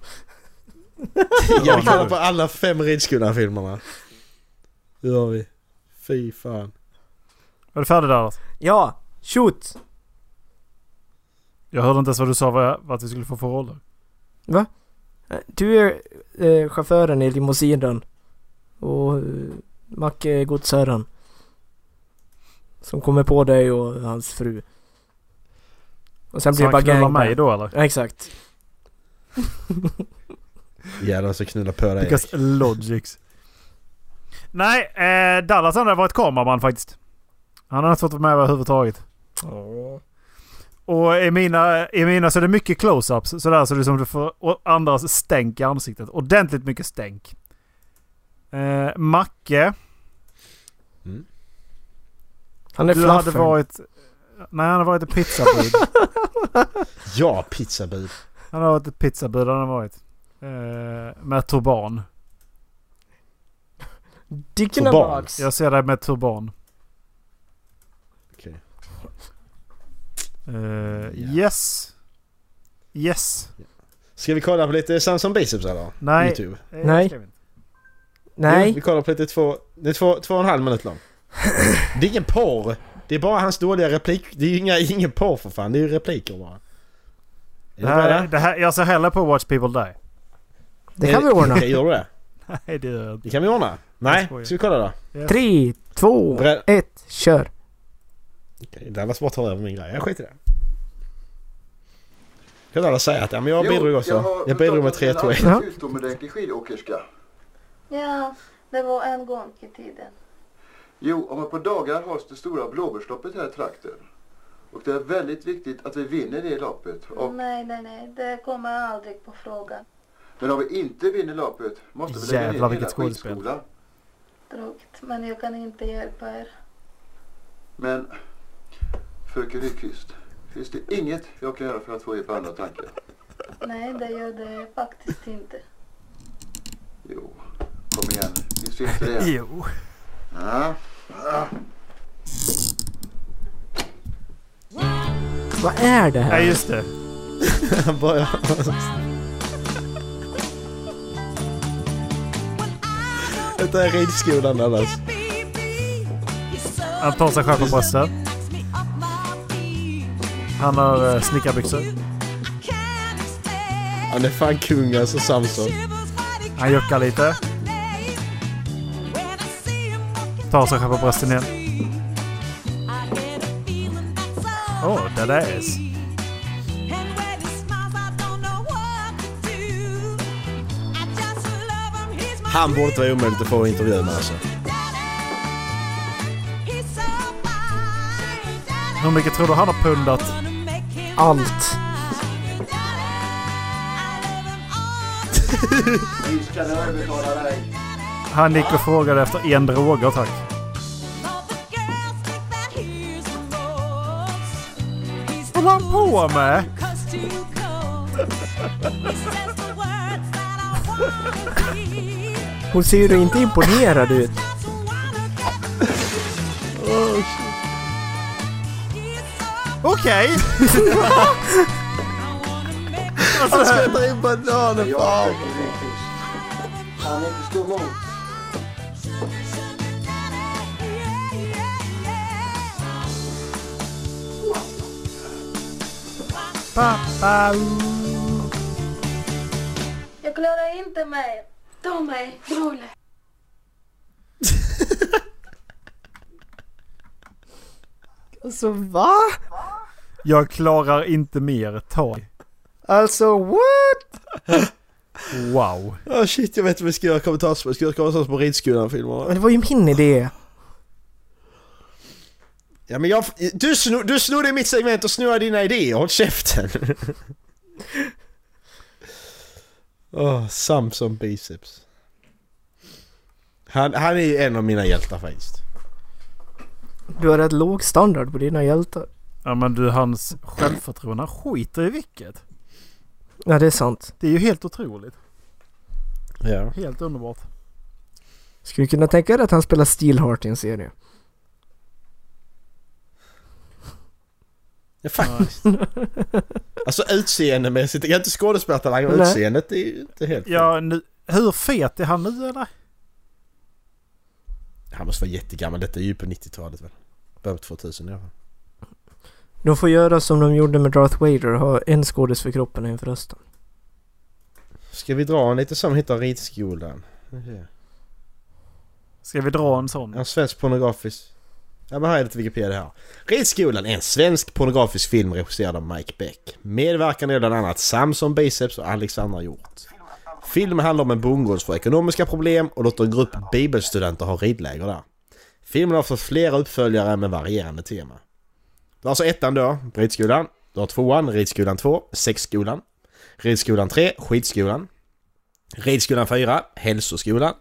S1: Jag kollar på alla fem Ridskolan-filmerna. Det har vi. Fy fan.
S3: Var du färdig Dallas?
S2: Ja, shoot!
S3: Jag hörde inte ens vad du sa vad, jag, vad vi skulle få för roller.
S2: Eh, Du är eh, chauffören i limousinen och eh, Macke är godsherren. Som kommer på dig och hans fru. Och sen
S3: Så
S2: blir det
S3: han
S2: bara
S3: knullar
S2: gangbang.
S3: mig då eller?
S2: Ja, exakt.
S1: Jävlar så knulla på dig.
S3: Because logics. Nej, eh, Dallas han har varit kameraman faktiskt. Han har inte fått vara med överhuvudtaget. Och i mina, i mina så är det mycket close-ups. Sådär så det är som du får och andras stänk i ansiktet. Ordentligt mycket stänk. Eh, Macke.
S1: Mm.
S2: Han är
S3: Du hade
S2: fluffern.
S3: varit... Nej, han har varit ett pizzabud.
S1: Ja, pizzabud.
S3: han har varit ett pizzabud han har varit. Eh, med turban.
S2: Dickorna
S1: Som barn.
S2: Max.
S3: Jag ser dig med turban.
S1: Okej.
S3: Eh, Yes. Yes.
S1: Ska vi kolla på lite Samson Biceps eller?
S3: Nej.
S1: YouTube.
S3: Eh,
S2: Nej.
S3: ska vi inte.
S1: Jo, vi
S2: Nej.
S1: kollar på lite två, det är två, två och en halv minut lång. Det är ingen porr. Det är bara hans dåliga replik. Det är ju inga, ingen porr för fan. Det är ju repliker bara. Är
S3: Det
S1: du med
S3: här,
S1: där?
S3: det här, jag ser hellre på Watch People Die.
S2: Det kan vi ordna.
S1: Det gör du det?
S3: Nej, det gör jag inte.
S1: Det kan vi ordna. Nej,
S3: skojar.
S1: ska vi kolla då?
S2: Tre, två,
S1: Bra.
S2: ett, kör.
S1: Okej, Dallas bara tar över min grej. Jag skiter i det. Kan Dallas säga att ja, men jag
S5: Jo,
S1: bidrog också.
S5: har
S1: Jag bidrog med
S5: pratat
S1: tre
S5: en annan
S1: poäng.
S2: Ja.
S5: utomordentlig skidåkerska.
S6: Ja, det var en gång i tiden.
S5: Jo, om ett par dagar hålls det stora blåbärsloppet här i trakten. Och det är väldigt viktigt att vi vinner det loppet. Och,
S6: Nej, nej, nej, det kommer aldrig på frågan.
S5: Men om vi inte vinner loppet måste vi lägga
S3: Jävlar,
S5: ner hela
S3: vilket skådespel.
S5: skidskolan.
S6: Tråkigt, men jag kan inte hjälpa er.
S5: Men, fröken Rydqvist, finns det inget jag kan göra för att få er på andra tankar?
S6: Nej, det gör det faktiskt inte.
S5: Jo, kom igen, vi syns igen.
S3: Jo.
S5: Ja.
S2: Vad är det
S3: Nej,
S2: här?
S3: just det.
S1: Han börjar... Detta är ridskolan Dallas.
S7: Han tar sig själv på bröstet.
S3: Han har
S7: Euh,
S3: eh, snickarbyxor.
S1: Han är fan kung alltså Samson.
S7: Han juckar lite. Tar sig själv på brösten igen.
S3: Oh, that ass.
S1: Han borde inte vara omöjligt att få intervju med alltså.
S3: Hur mycket tror du han har pundat?
S2: Allt.
S5: Vi ska övertala dig.
S3: Han gick och frågade efter en droger, tack. håller han på med?
S2: Hon ser ju då inte imponerad ut.
S3: Oh, Okej!
S1: Han spänner in bananen
S5: Jag
S1: på
S5: är
S1: armen.
S5: säker Nyqvist. Han är inte stum emot.
S3: Pappa!
S6: Jag klarar inte mig. Ta mig, Drole.
S2: Alltså va?
S3: Jag klarar inte mer. Ta.
S2: Alltså what?
S3: Wow.
S1: Ah shit, jag vet vad vi ska göra kommentarsspår. Vi ska göra kommentarsspår på ridskolan-filmerna.
S2: Men det var ju min idé.
S1: Ja men jag... Du, sno, du snodde mitt segment och snodde dina idéer. Håll käften. Åh, Samson biceps. Han, han är ju en av mina hjältar faktiskt.
S2: Du har rätt låg standard på dina hjältar.
S3: Ja men du, hans självförtroende han skiter i vilket.
S2: Ja det är sant.
S3: Det är ju helt otroligt.
S1: Ja.
S3: Helt underbart.
S2: Skulle kunna tänka dig att han spelar Steelheart i en serie.
S1: Ja, faktiskt. alltså utseendemässigt, jag är inte skådespelartalang men
S2: Nej.
S1: utseendet är ju inte helt...
S3: Ja, nu, hur fet är han nu eller?
S1: Han måste vara jättegammal, detta är ju på 90-talet väl? Början på 2000 i alla fall.
S2: De får göra som de gjorde med Darth Vader och ha en skådis för kroppen och en för rösten.
S1: Ska vi dra en lite som heter Ridskolan?
S3: Ska vi dra en sån?
S1: En svensk pornografisk... Ja men här är lite Wikipedia här. Ridskolan är en svensk pornografisk film regisserad av Mike Beck. Medverkande är bland annat Samson Biceps och Alexandra Hjort. Filmen handlar om en bondgård för ekonomiska problem och låter en grupp bibelstudenter ha ridläger där. Filmen har fått flera uppföljare med varierande tema. Du har alltså ettan då, Ridskolan. Du har tvåan, Ridskolan 2, Sexskolan. Ridskolan 3, Skidskolan. Ridskolan 4, Hälsoskolan.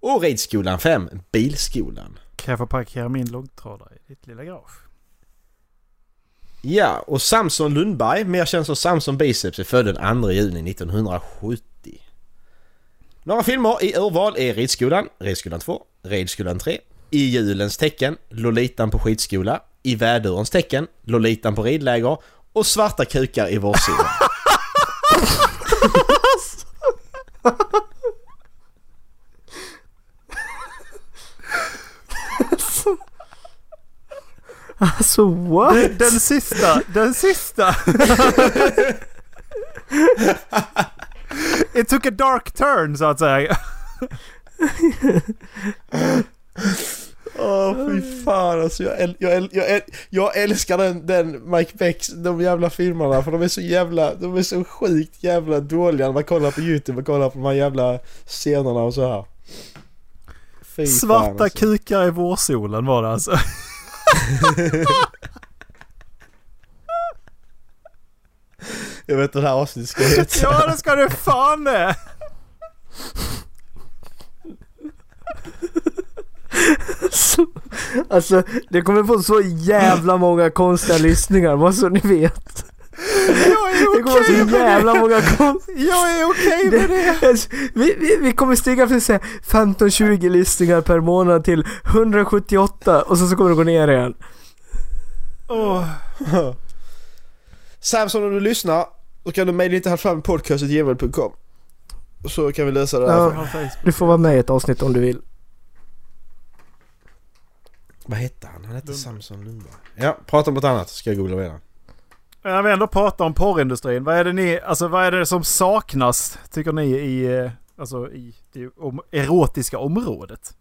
S1: Och Ridskolan 5, Bilskolan.
S3: Kan jag få parkera min långtradare i ditt lilla garage?
S1: Ja, och Samson Lundberg, mer känd som Samson Biceps, är född den 2 juni 1970. Några filmer i urval är Ridskolan, Ridskolan 2, Ridskolan 3, I julens tecken, Lolitan på skidskola, I vädurens tecken, Lolitan på ridläger och Svarta kukar i vårsolen.
S2: Alltså what?
S3: Den sista! Den sista! It took a dark turn så att säga.
S1: Åh fy fan alltså, jag, äl- jag, äl- jag, äl- jag älskar den, den Mike Becks, de jävla filmerna för de är så jävla, de är så sjukt jävla dåliga när man kollar på YouTube och kollar på de här jävla scenerna och så här. Fy fan,
S3: Svarta
S1: alltså.
S3: kukar i vårsolen var det alltså.
S1: Jag vet inte det här avsnittet ska heta.
S3: Ja det ska du fan med!
S2: Så- Alltså, det kommer få så jävla många konstiga lyssningar, bara så ni vet.
S3: Jag är
S2: Det kommer
S3: okej
S2: så
S3: med
S2: jävla
S3: det!
S2: många konstiga...
S3: Jag är okej med det!
S2: Alltså, vi, vi, vi kommer stiga från så här 15-20 lyssningar per månad till 178 och sen så kommer det gå ner igen.
S3: Åh.
S1: Samson om du lyssnar, då kan du mejla inte här fram podcastetgmail.com. Så kan vi lösa det här.
S2: Ja, du får vara med i ett avsnitt om du vill.
S1: Vad hette han? Han hette Samson Lundberg. Ja, prata om något annat så ska jag googla redan.
S3: När vi ändå pratar om porrindustrin, vad är det, ni, alltså, vad är det som saknas tycker ni i, eh, alltså, i det om, erotiska området?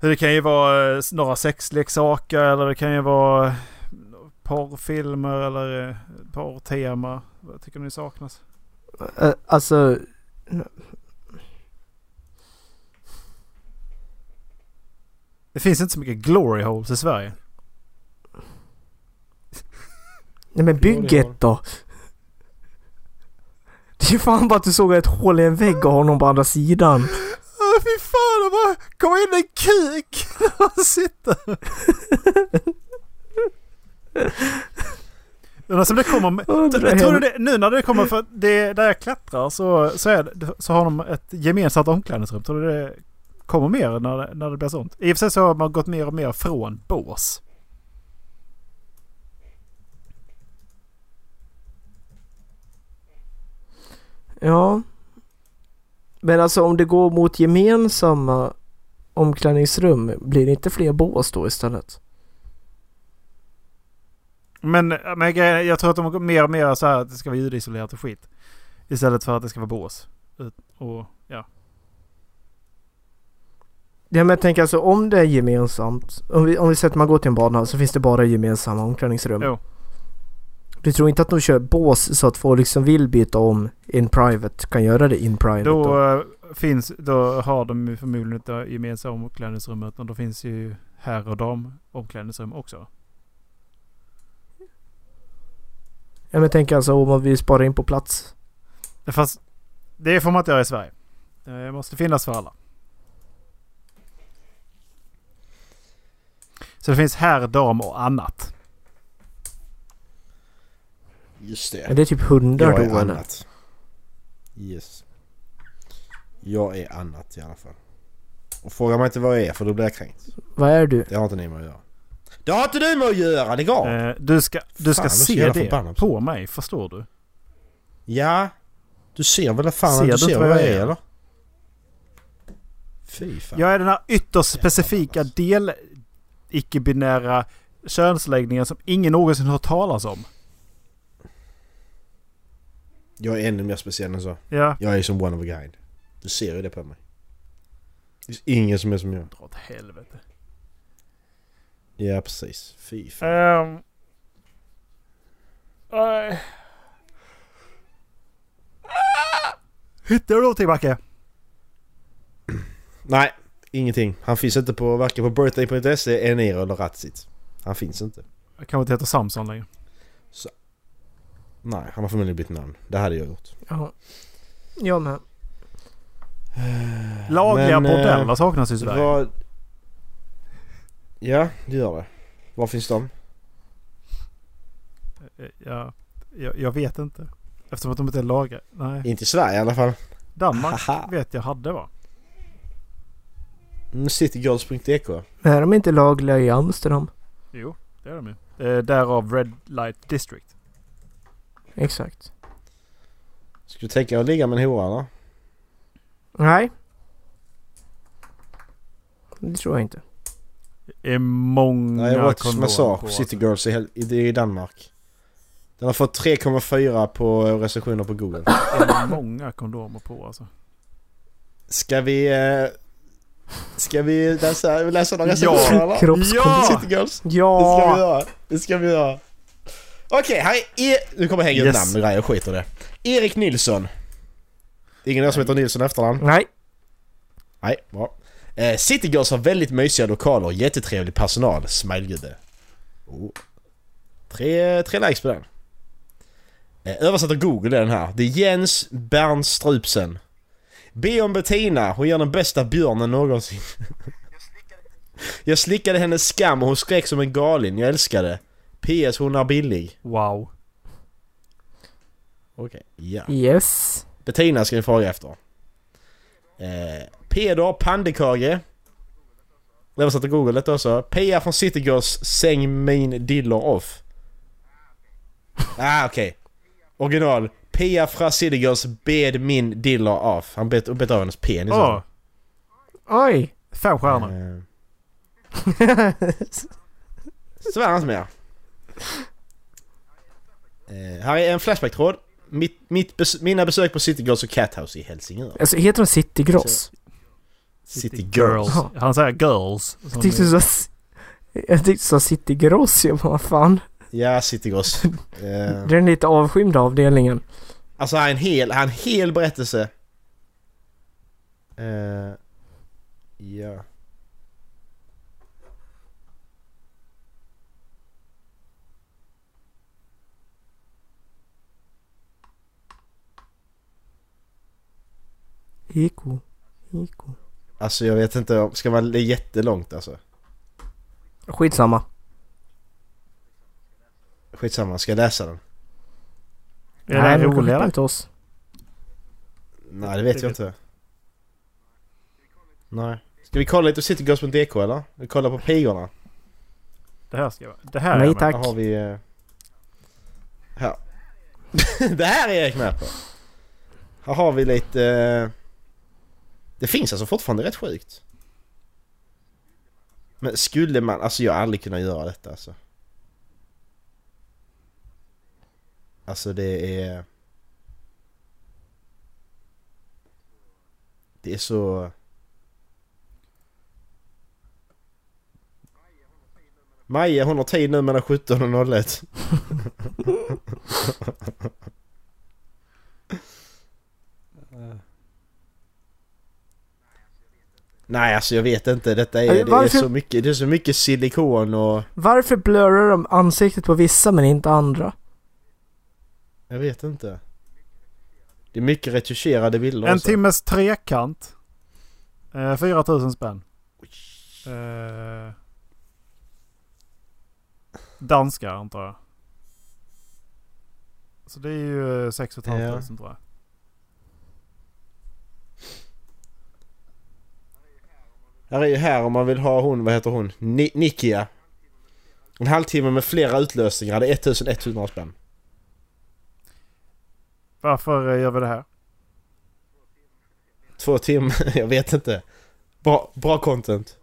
S3: Det kan ju vara eh, några sexleksaker eller det kan ju vara eh, porrfilmer eller eh, porrtema. Vad tycker ni saknas?
S2: Eh, Alltså...
S3: Det finns inte så mycket glory holes i Sverige.
S2: Nej men bygg
S1: det har-
S2: ett då! Det är ju fan bara att du såg ett hål i en vägg och har någon på andra sidan.
S3: Åh, fy fan, det bara kom in en kuk när man sitter. Alltså det kommer, med-
S2: Undrar
S3: tror du
S2: hur-
S3: det, nu när det kommer för det, där jag klättrar så, så, är, det- så har de ett gemensamt omklädningsrum. Tror du det kommer mer när det, när det blir sånt? I och för sig så har man gått mer och mer från bås.
S2: Ja. Men alltså om det går mot gemensamma omklädningsrum, blir det inte fler bås då istället?
S3: Men, men grejen- jag tror att de går mer och mer så här att det ska vara ljudisolerat och skit. Istället för att det ska vara bås. Ut- Och, ja.
S2: Ja men jag tänker alltså om det är gemensamt. Om vi, om vi säger att man går till en badhall så finns det bara gemensamma omklädningsrum.
S3: Jo.
S2: Du tror inte att de kör bås så att folk som vill byta om in private kan göra det in private?
S3: Då
S2: Då,
S3: eh, finns, då har de ju förmodligen eh, inte gemensamma omklädningsrum utan då finns ju herr och dam omklädningsrum också.
S2: ja men jag tänker alltså om man vill spara in på plats.
S3: Fast det får man inte göra i Sverige. Det måste finnas för alla. Så det finns herr, dam och annat.
S1: Just
S2: Är det typ hundar
S1: Jag
S2: då
S1: är
S2: eller?
S1: annat. Yes. Jag är annat i alla fall. Och fråga mig inte vad jag är för då blir jag kränkt.
S2: Vad är du?
S1: Det har inte ni med att göra. Det har inte du med att göra! Lägg av!
S3: Eh, Du ska, du ska
S1: Fan, jag är så
S3: se
S1: jävla
S3: det
S1: förbannad.
S3: på mig, förstår du?
S1: Ja. Du ser väl fan
S3: Ser
S1: att du
S3: du
S1: ser
S3: inte
S1: vad jag är eller? Fy fan.
S3: Jag är den här ytterst specifika del icke-binära könsläggningen som ingen någonsin hört talas om.
S1: Jag är ännu mer speciell än så.
S3: Ja.
S1: Jag är som one of a kind. Du ser ju det på mig. Det finns ingen som är som jag.
S3: Dra åt helvete.
S1: Ja precis. Fy fan.
S3: Ehm. nej. Hittar du någonting Backe?
S1: Nej, ingenting. Han finns inte på varken på birthday.se, Eniro E eller Ratsit. Han finns inte.
S3: Jag kanske inte heter Samson längre.
S1: Nej, han har förmodligen bytt namn. Det hade jag gjort.
S2: Ja. Jag med.
S3: Lagliga
S1: Men, eh,
S3: bordeller saknas i Sverige.
S1: Vad... Ja, det gör det. Var finns de?
S3: Eh, Ja, jag, jag vet inte. Eftersom att de inte är lagliga. Nej.
S1: Inte i Sverige i alla fall.
S3: Danmark
S1: Haha.
S3: vet jag hade va?
S1: Mm, Citygirls.dk
S2: Men är de inte lagliga i Amsterdam?
S3: Jo, det är de ju. Eh, Därav Red Light District.
S2: Exakt.
S1: Ska du tänka dig att ligga med en hora eller?
S2: Nej. Det tror jag inte.
S3: är många
S1: Nej, jag var till
S3: kondomer
S1: massage på
S3: på. alltså.
S1: Citygirls i, Hel- i, i Danmark. Den har fått 3,4 på eh, recensioner på Google.
S3: Det är många kondomer på alltså.
S1: Ska vi... Eh, ska vi läsa, läsa några
S3: Ja.
S1: recensioner eller?
S2: Kroppskontakt.
S1: Citygirls? Det ska vi
S2: Ja!
S1: göra. Det ska vi göra. Okej, här är... E- nu kommer jag hänga ut
S3: Yes.
S1: namn och grejer, jag skiter i det. Erik Nilsson. Det är ingen av er som heter Nilsson i efternamn?
S2: Nej.
S1: Nej, bra. Eh, Citygirls har väldigt mysiga lokaler och jättetrevlig personal. Smilegubbe. Oh. Tre, tre likes på den. Eh, översatt av Google är den här. Det är Jens Bernstrupsen. Be om Bettina, hon gör den bästa björnen någonsin. Jag slickade hennes skam och hon skrek som en galin. Jag älskar det. PS, hon är billig.
S3: Wow.
S1: Okej. Ja.
S2: Yes.
S1: Bettina ska vi fråga efter. Eh, Peder Pandekage. Översatt till Google detta också. PR från Citygirls Säng min diller off. Ah okej. Original. PR från Citygirls Bed min diller off. Han bet, bet av hennes penis.
S3: Åh,
S2: Oj!
S3: Ah, fem stjärnor.
S1: Eh. Svär Eh, inte mer. Eh, här är en Flashback-tråd. Mitt, mitt bes- mina besök på Citygirls och Cathouse i Helsingör.
S2: Alltså heter de City Gross?
S1: City Girls.
S2: Ja.
S3: Han säger girls.
S2: Jag tyckte du sa... Jag tyckte du sa City Gross, jag bara fan.
S1: Ja, City Girls. Eh,
S2: Det är den lite avskymda avdelningen.
S1: alltså, här är en hel, här är en hel berättelse. Eh, ja.
S2: Eko. Eko.
S1: Alltså jag vet inte, om- ska man det är jättelångt alltså?
S2: Skitsamma.
S1: Skitsamma, ska jag läsa den?
S3: Är det här
S2: de kan skicka
S3: roligare?
S2: den till oss.
S1: Nej, det vet jag inte. Nej. Ska vi kolla lite City Girls på DK eller? Vi kollar på pigorna.
S3: Det här ska jag... Det här
S2: Nej,
S3: är jag med.
S2: tack.
S1: Här har vi... eh, Här. det här är Erik med på. Här har vi lite... eh, Det finns alltså fortfarande rätt sjukt. Men skulle man... Alltså jag har aldrig kunnat göra detta alltså. Alltså det är... Det är så... Maja hon har tid nu mellan 17 och 01. Nej alltså jag vet inte. Detta är, det är
S2: Varför-
S1: så mycket, det är så mycket silikon och...
S2: Varför blurrar de ansiktet på vissa men inte andra?
S1: Jag vet inte. Det är mycket retuscherade alltså. bilder
S3: En
S1: också.
S3: timmes trekant. Eh, 4 000 spänn. Eh, danska antar jag. Så det är ju eh, 6 500
S1: Ja.
S3: tror jag.
S1: Här är ju här om man vill ha hon, vad heter hon? Ni- Nikia. En halvtimme med flera utlösningar, det är 1100 spänn.
S3: Varför eh, gör vi det här?
S1: Två timmar, jag vet inte. Bra, bra content.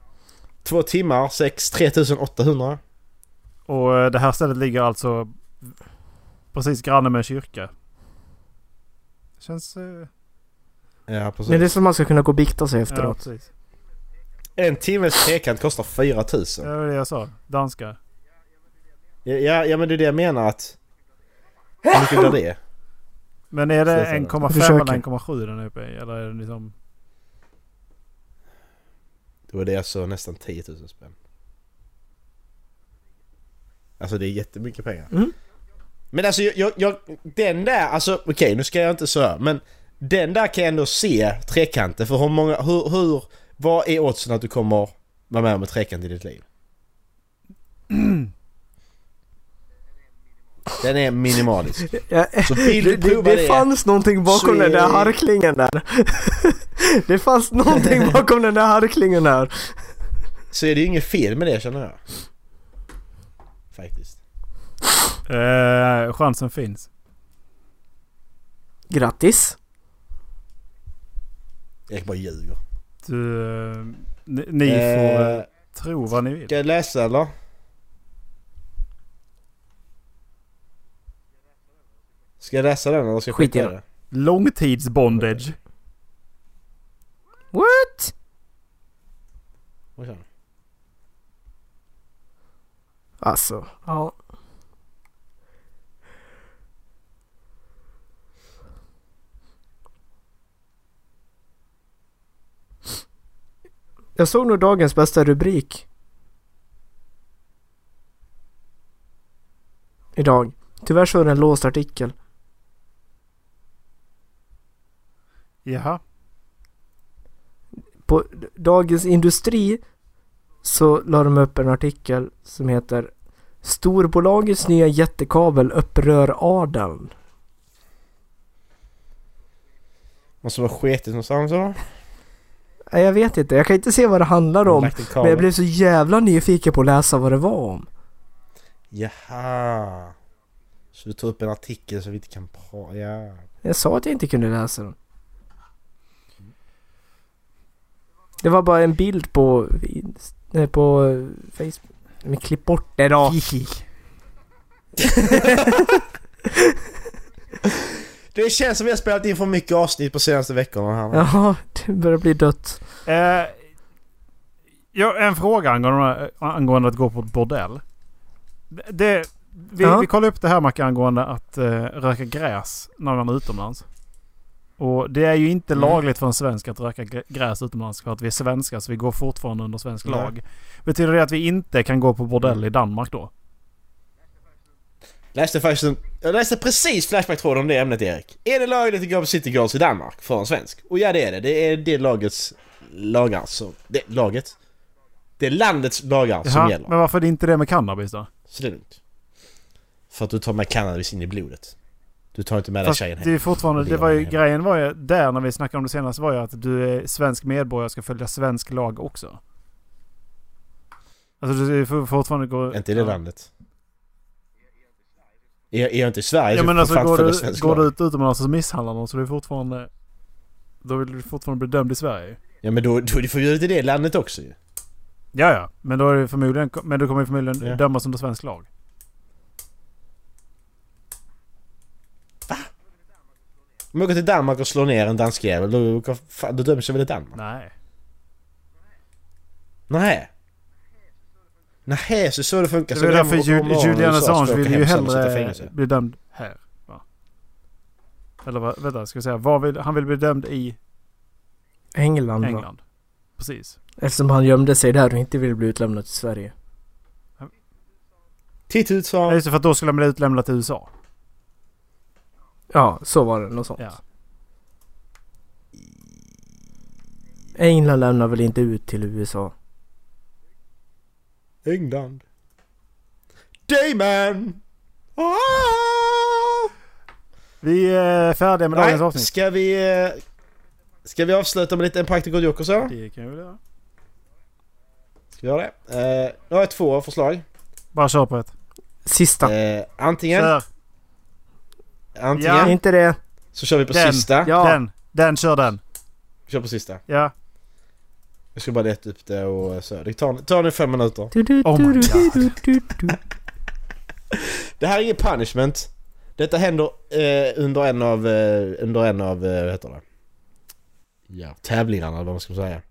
S1: Två timmar, sex, 3800.
S3: Och eh, det här stället ligger alltså precis granne med en kyrka. Känns... Eh,
S1: Ja, precis.
S2: Men det är som man ska kunna gå och bikta sig
S3: ja,
S2: efteråt.
S3: precis.
S1: En timmes trekant kostar 4000.
S3: Det var det jag sa. Danska.
S1: Ja, ja, ja, men det är det jag menar att... Hur mycket blir det?
S3: Men är det
S1: Precis, ja.
S3: 1,5
S2: Försöker.
S3: eller 1,7 den är uppe i? Eller är det liksom...
S1: Då är det alltså nästan 10 000 spänn. Alltså det är jättemycket pengar.
S2: Mm.
S1: Men alltså jag, jag, jag, den där, alltså okej nu ska jag inte så här, men den där kan jag ändå se trekanten för hur många, hur, hur, vad är oddsen att du kommer vara med om en trekant i ditt liv? Den är minimalisk.
S2: Ja,
S1: Så vill
S2: det,
S1: du
S2: det,
S1: prova
S2: det
S1: det?
S2: fanns någonting bakom
S1: Så
S2: den
S1: är
S2: där
S1: det-
S2: harklingen där. det fanns någonting bakom den där harklingen där.
S1: Så är det ju inget fel med det känner jag. Faktiskt.
S3: Eh, chansen finns.
S2: Grattis!
S1: Jag bara ljuger.
S3: Du, eh, ni ni får
S1: Eh,
S3: eh, tro vad ni vill.
S1: Ska jag läsa eller? Ska jag läsa den eller ska jag
S2: Skit i
S1: skita i
S2: det.
S1: det?
S3: Långtidsbondage.
S2: What?
S1: Oj, sen.
S2: Alltså, ja. Jag såg nog dagens bästa rubrik. Idag. Tyvärr så är det en låst artikel.
S3: Jaha.
S2: på Dagens Industri så la de upp en artikel som heter Storbolagets nya jättekabel upprör adeln.
S1: Måste vara sketigt någonstans eller?
S2: Nej, jag vet inte, jag kan inte se vad det handlar om.
S1: Lagt en kabel.
S2: Men jag blev så jävla nyfiken på att läsa vad det var om.
S1: Jaha. Så du tar upp en artikel så vi inte kan prata. Ja.
S2: Jag sa att jag inte kunde läsa den. Det var bara en bild på, eh, på eh, Facebook. Men klipp bort det då!
S1: Det känns som vi har spelat in för mycket avsnitt på senaste veckorna här. Ja.
S2: Ja, det börjar bli dött.
S3: Eh, ja, en fråga angående, angående att gå på ett bordell. Det- Det, vi,
S2: Ja.
S3: vi kollade upp det här Macke angående att eh, röka gräs när man är utomlands. Och det är ju inte
S1: Mm.
S3: lagligt för en svensk att röka gr- gräs utomlands för att vi är svenskar så vi går fortfarande under svensk
S1: Nej.
S3: lag. Betyder det att vi inte kan gå på
S1: Mm.
S3: bordell i Danmark då?
S1: Läste faktiskt en, jag läste precis Flashback-tråden om det ämnet Erik. Är det lagligt att gå på City Girls i Danmark för en svensk? Och ja det är det. Det är det lagets lagar som... Det, laget? Det är landets lagar som
S3: Jaha,
S1: gäller.
S3: Men varför är det inte det med cannabis då?
S1: Så det är lugnt. För att du tar med cannabis in i blodet. Du tar inte med dig
S3: Fast
S1: tjejen
S3: det
S1: hem.
S3: är fortfarande,
S1: Det
S3: det var ju,
S1: gör man ju.
S3: grejen var ju där när vi snackade om det senast var ju att du är svensk medborgare och ska följa svensk lag också. Alltså du får fortfarande gå...
S1: Inte i det
S3: ja.
S1: landet. Är jag, är jag inte i Sverige
S3: Ja
S1: så
S3: men
S1: får
S3: alltså
S1: fan
S3: går
S1: följa
S3: du,
S1: svensk
S3: går du
S1: lag.
S3: ut utomlands och misshandlar någon så du är fortfarande... Då vill du fortfarande bli dömd i Sverige.
S1: Ja men då, då är det förbjudet i det landet också ju.
S3: Ja ja, men då är det förmodligen... Men du kommer ju förmodligen
S1: Ja.
S3: dömas under svensk lag.
S1: Om jag går till Danmark och slår ner en dansk jävel då, fan, då döms jag väl i Danmark?
S3: Nej.
S1: Nej. Nej, så så det funkar.
S3: Det
S1: Så
S3: var därför
S1: om- om- om-
S3: Ju-
S1: om-
S3: Julian
S1: om- om- om- om- om- om- om- om- om- om-
S3: Assange
S1: om-
S3: ville ju
S1: hem sen och sätta
S3: hellre
S1: fängelse.
S3: bli dömd här. Va? Eller vad, vänta, ska vi säga. Var vill, han vill bli dömd i
S2: England, England.
S3: England. Precis.
S2: Eftersom han gömde sig där och inte ville bli utlämnad till Sverige.
S1: Titt ut
S3: Ja,
S1: sa
S3: just det, för att då skulle han bli utlämnad till USA.
S2: Ja, så var det. Något sånt.
S3: Ja.
S2: England lämnar väl inte ut till USA?
S1: England. Damon! Ah!
S3: Vi är färdiga med dagens
S1: Nej,
S3: avsnitt.
S1: ska vi... eh, Ska vi avsluta med lite en Practical Joker så?
S3: Det kan vi väl göra.
S1: Ska vi göra det? Eh, nu har jag två förslag.
S3: Bara kör på ett.
S2: Sista.
S1: Eh, antingen...
S3: Kör.
S1: Antingen
S3: Ja.
S2: Inte det.
S1: så kör vi på
S3: Den.
S1: sista.
S2: Ja.
S3: Den. Den, kör den.
S1: Vi kör på sista.
S3: Ja.
S1: Jag ska bara leta upp det och så. Det tar, tar nu fem minuter.
S2: Du, du,
S3: Oh my
S2: du, du,
S3: God.
S2: du, du,
S1: Oh
S2: du.
S1: Det här är ingen punishment. Detta händer eh, under en av, eh, under en av, eh, vad heter det? Ja, tävlingarna eller vad man ska säga. Mör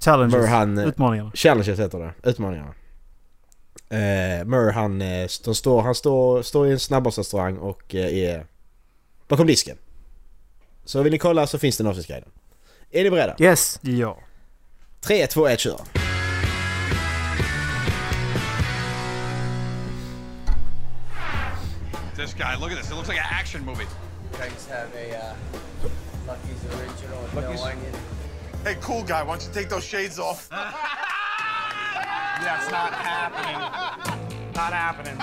S3: Challenges.
S1: han, eh,
S3: Utmaningarna.
S1: challenges heter det, utmaningarna. Eh, Mör han, eh, de står, han står, står i en snabbmatsrestaurang och eh, är bakom disken. Så vill ni kolla så finns den avsnittsguiden. Är ni beredda?
S2: Yes.
S3: Ja.
S1: 3, 2, 1, kör!
S8: This guy, look at this. It looks like an action movie.
S9: Craig's have a uh, Lucky's original with
S8: Lucky's-
S9: no onion.
S8: Hey, cool guy, why don't you take those shades off? That's not happening. Not happening.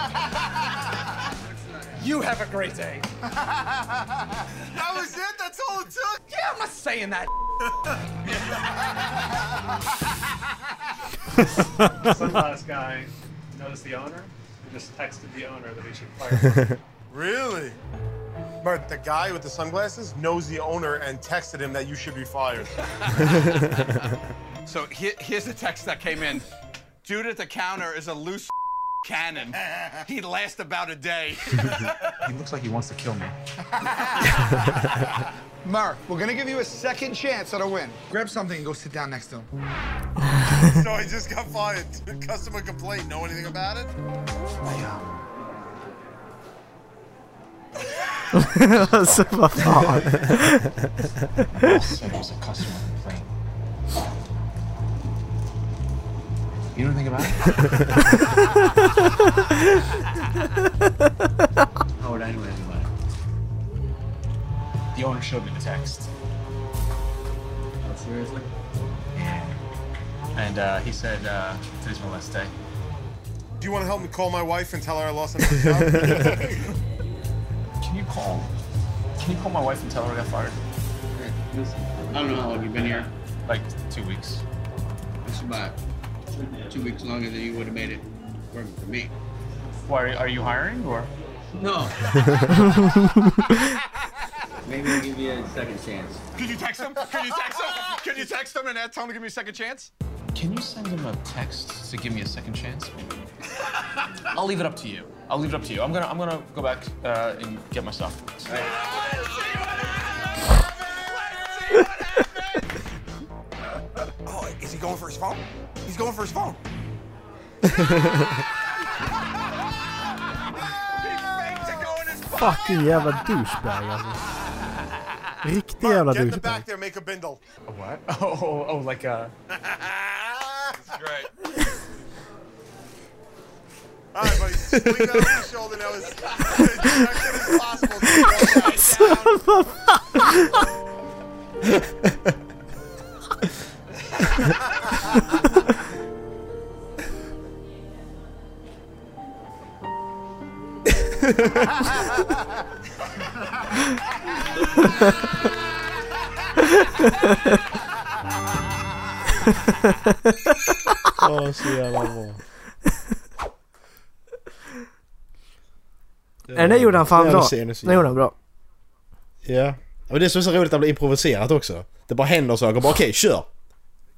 S8: You have a great day. that was it? That's all it took? Yeah, I'm not saying that.
S10: Sunglass guy knows the owner and just texted the owner that he should fire. him.
S8: Really? But the guy with the sunglasses knows the owner and texted him that you should be fired. so he- here's the text that came in Dude at the counter is a loose cannon. He'd last about a day.
S10: he looks like he wants to kill me.
S11: Mark, we're gonna give you a second chance at a win. Grab something and go sit down next to him.
S8: so I just got fired. Customer complaint. Know anything about it?
S2: Alltså vad fan.
S10: said it was a customer complaint. You don't think about it? How would I know anything about it? The owner showed me the text.
S9: Oh, seriously?
S10: And uh, he said, uh, today's my last day.
S8: Do you want to help me call my wife and tell her I lost another job?
S10: Can you call? Can you call my wife and tell her I got fired?
S9: I don't know how long you've been here.
S10: Like two weeks.
S9: It's about two weeks longer than you would have made it working for me.
S10: Why are you hiring or?
S9: No. Maybe we'll give you a second chance.
S8: Could you text him? Could you text him? Could you text him and add- tell him to give me a second chance?
S10: Can you send him a text to give me a second chance? I'll leave it up to you. I'll leave it up to you. I'm gonna I'm gonna go back uh, and get my stuff.
S8: Oh, is he going for his phone? He's going for his phone.
S3: Fucking jävla douchebag alltså. Riktig jävla
S8: Get in the
S3: douchebag.
S8: back there, make a bindle.
S10: What? Oh, oh, oh like uh.
S8: That's great. All right, buddy. Swing that over your shoulder. That was as effective as possible. Just roll that down.
S9: Oh,
S1: Åh, så jävla bra.
S2: Nej, den där gjorde han fan
S1: Ja,
S2: bra.
S1: det ser ni så
S2: Den gjorde han bra.
S1: Ja. Men det är så så roligt att bli improviserat också. Det bara händer saker. Bara okej, kör!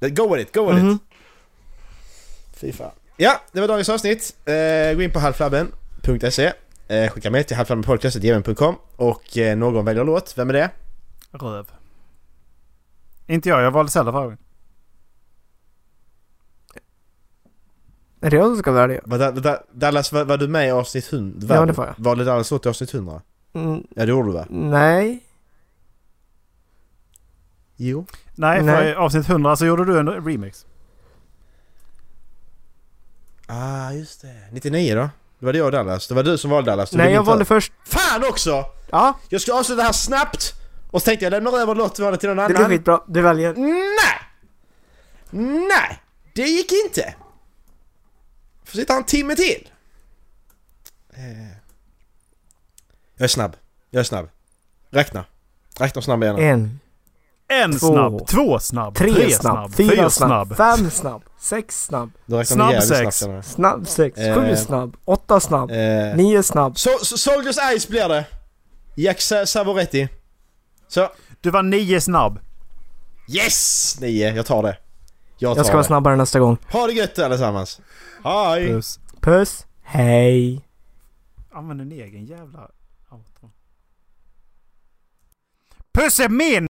S1: Go with it, go with
S2: Mhm.
S1: it! Fy fan. Ja, det var dagens avsnitt. Eh, gå in på halvflabben.se eh, Skicka med till halvflabbenpodcast.gmn.com och eh, någon väljer låt. Vem är det?
S3: Röv. Inte jag, jag valde Zelda förra gången.
S2: Är det jag som ska välja?
S1: Var, da, da, Dallas, var, var du med i avsnitt 100?
S2: Ja, det var jag.
S1: Valde Dallas låt i avsnitt 100?
S2: Mm,
S1: Ja, det gjorde du va?
S2: nej.
S1: Jo.
S3: Nej, för
S2: Nej.
S3: i avsnitt 100 så gjorde du en remix.
S1: Ah, just det. 99 då? Det var det jag och Dallas. Det var du som valde Dallas. Du
S2: Nej,
S1: ville
S2: jag
S1: inte-
S2: valde först...
S1: Fan också!
S2: Ja.
S1: Jag ska avsluta det här snabbt! Och så tänkte jag lämnar över lottvalet till någon
S2: Det
S1: annan.
S2: blir skitbra. Du väljer.
S1: Nej! Nej! Det gick inte! Får sitta en timme till. Eh. Jag är snabb. Jag är snabb. Räkna. Räkna snabb igen.
S2: En.
S3: En
S1: Två.
S3: snabb, två snabb,
S2: Tre, snabb, fyra snabb, fem snabb, sex snabb,
S1: Du räknar
S2: snabb
S1: jävligt
S2: sex,
S1: snabbt, eller?
S2: snabb sex, sju
S1: Eh,
S2: snabb, åtta snabb,
S1: eh,
S2: nio snabb.
S1: So so Soldiers Ice blir det. Jack Sa- Savoretti. Så.
S3: Du var nio snabb.
S1: Yes! Nio. Jag tar det. Jag tar
S2: Jag ska vara
S1: det.
S2: snabbare nästa gång.
S1: Ha det gött allesammans. Hej!
S3: Puss.
S2: Puss, hej!
S3: Använd en egen jävla outro. Puss är min!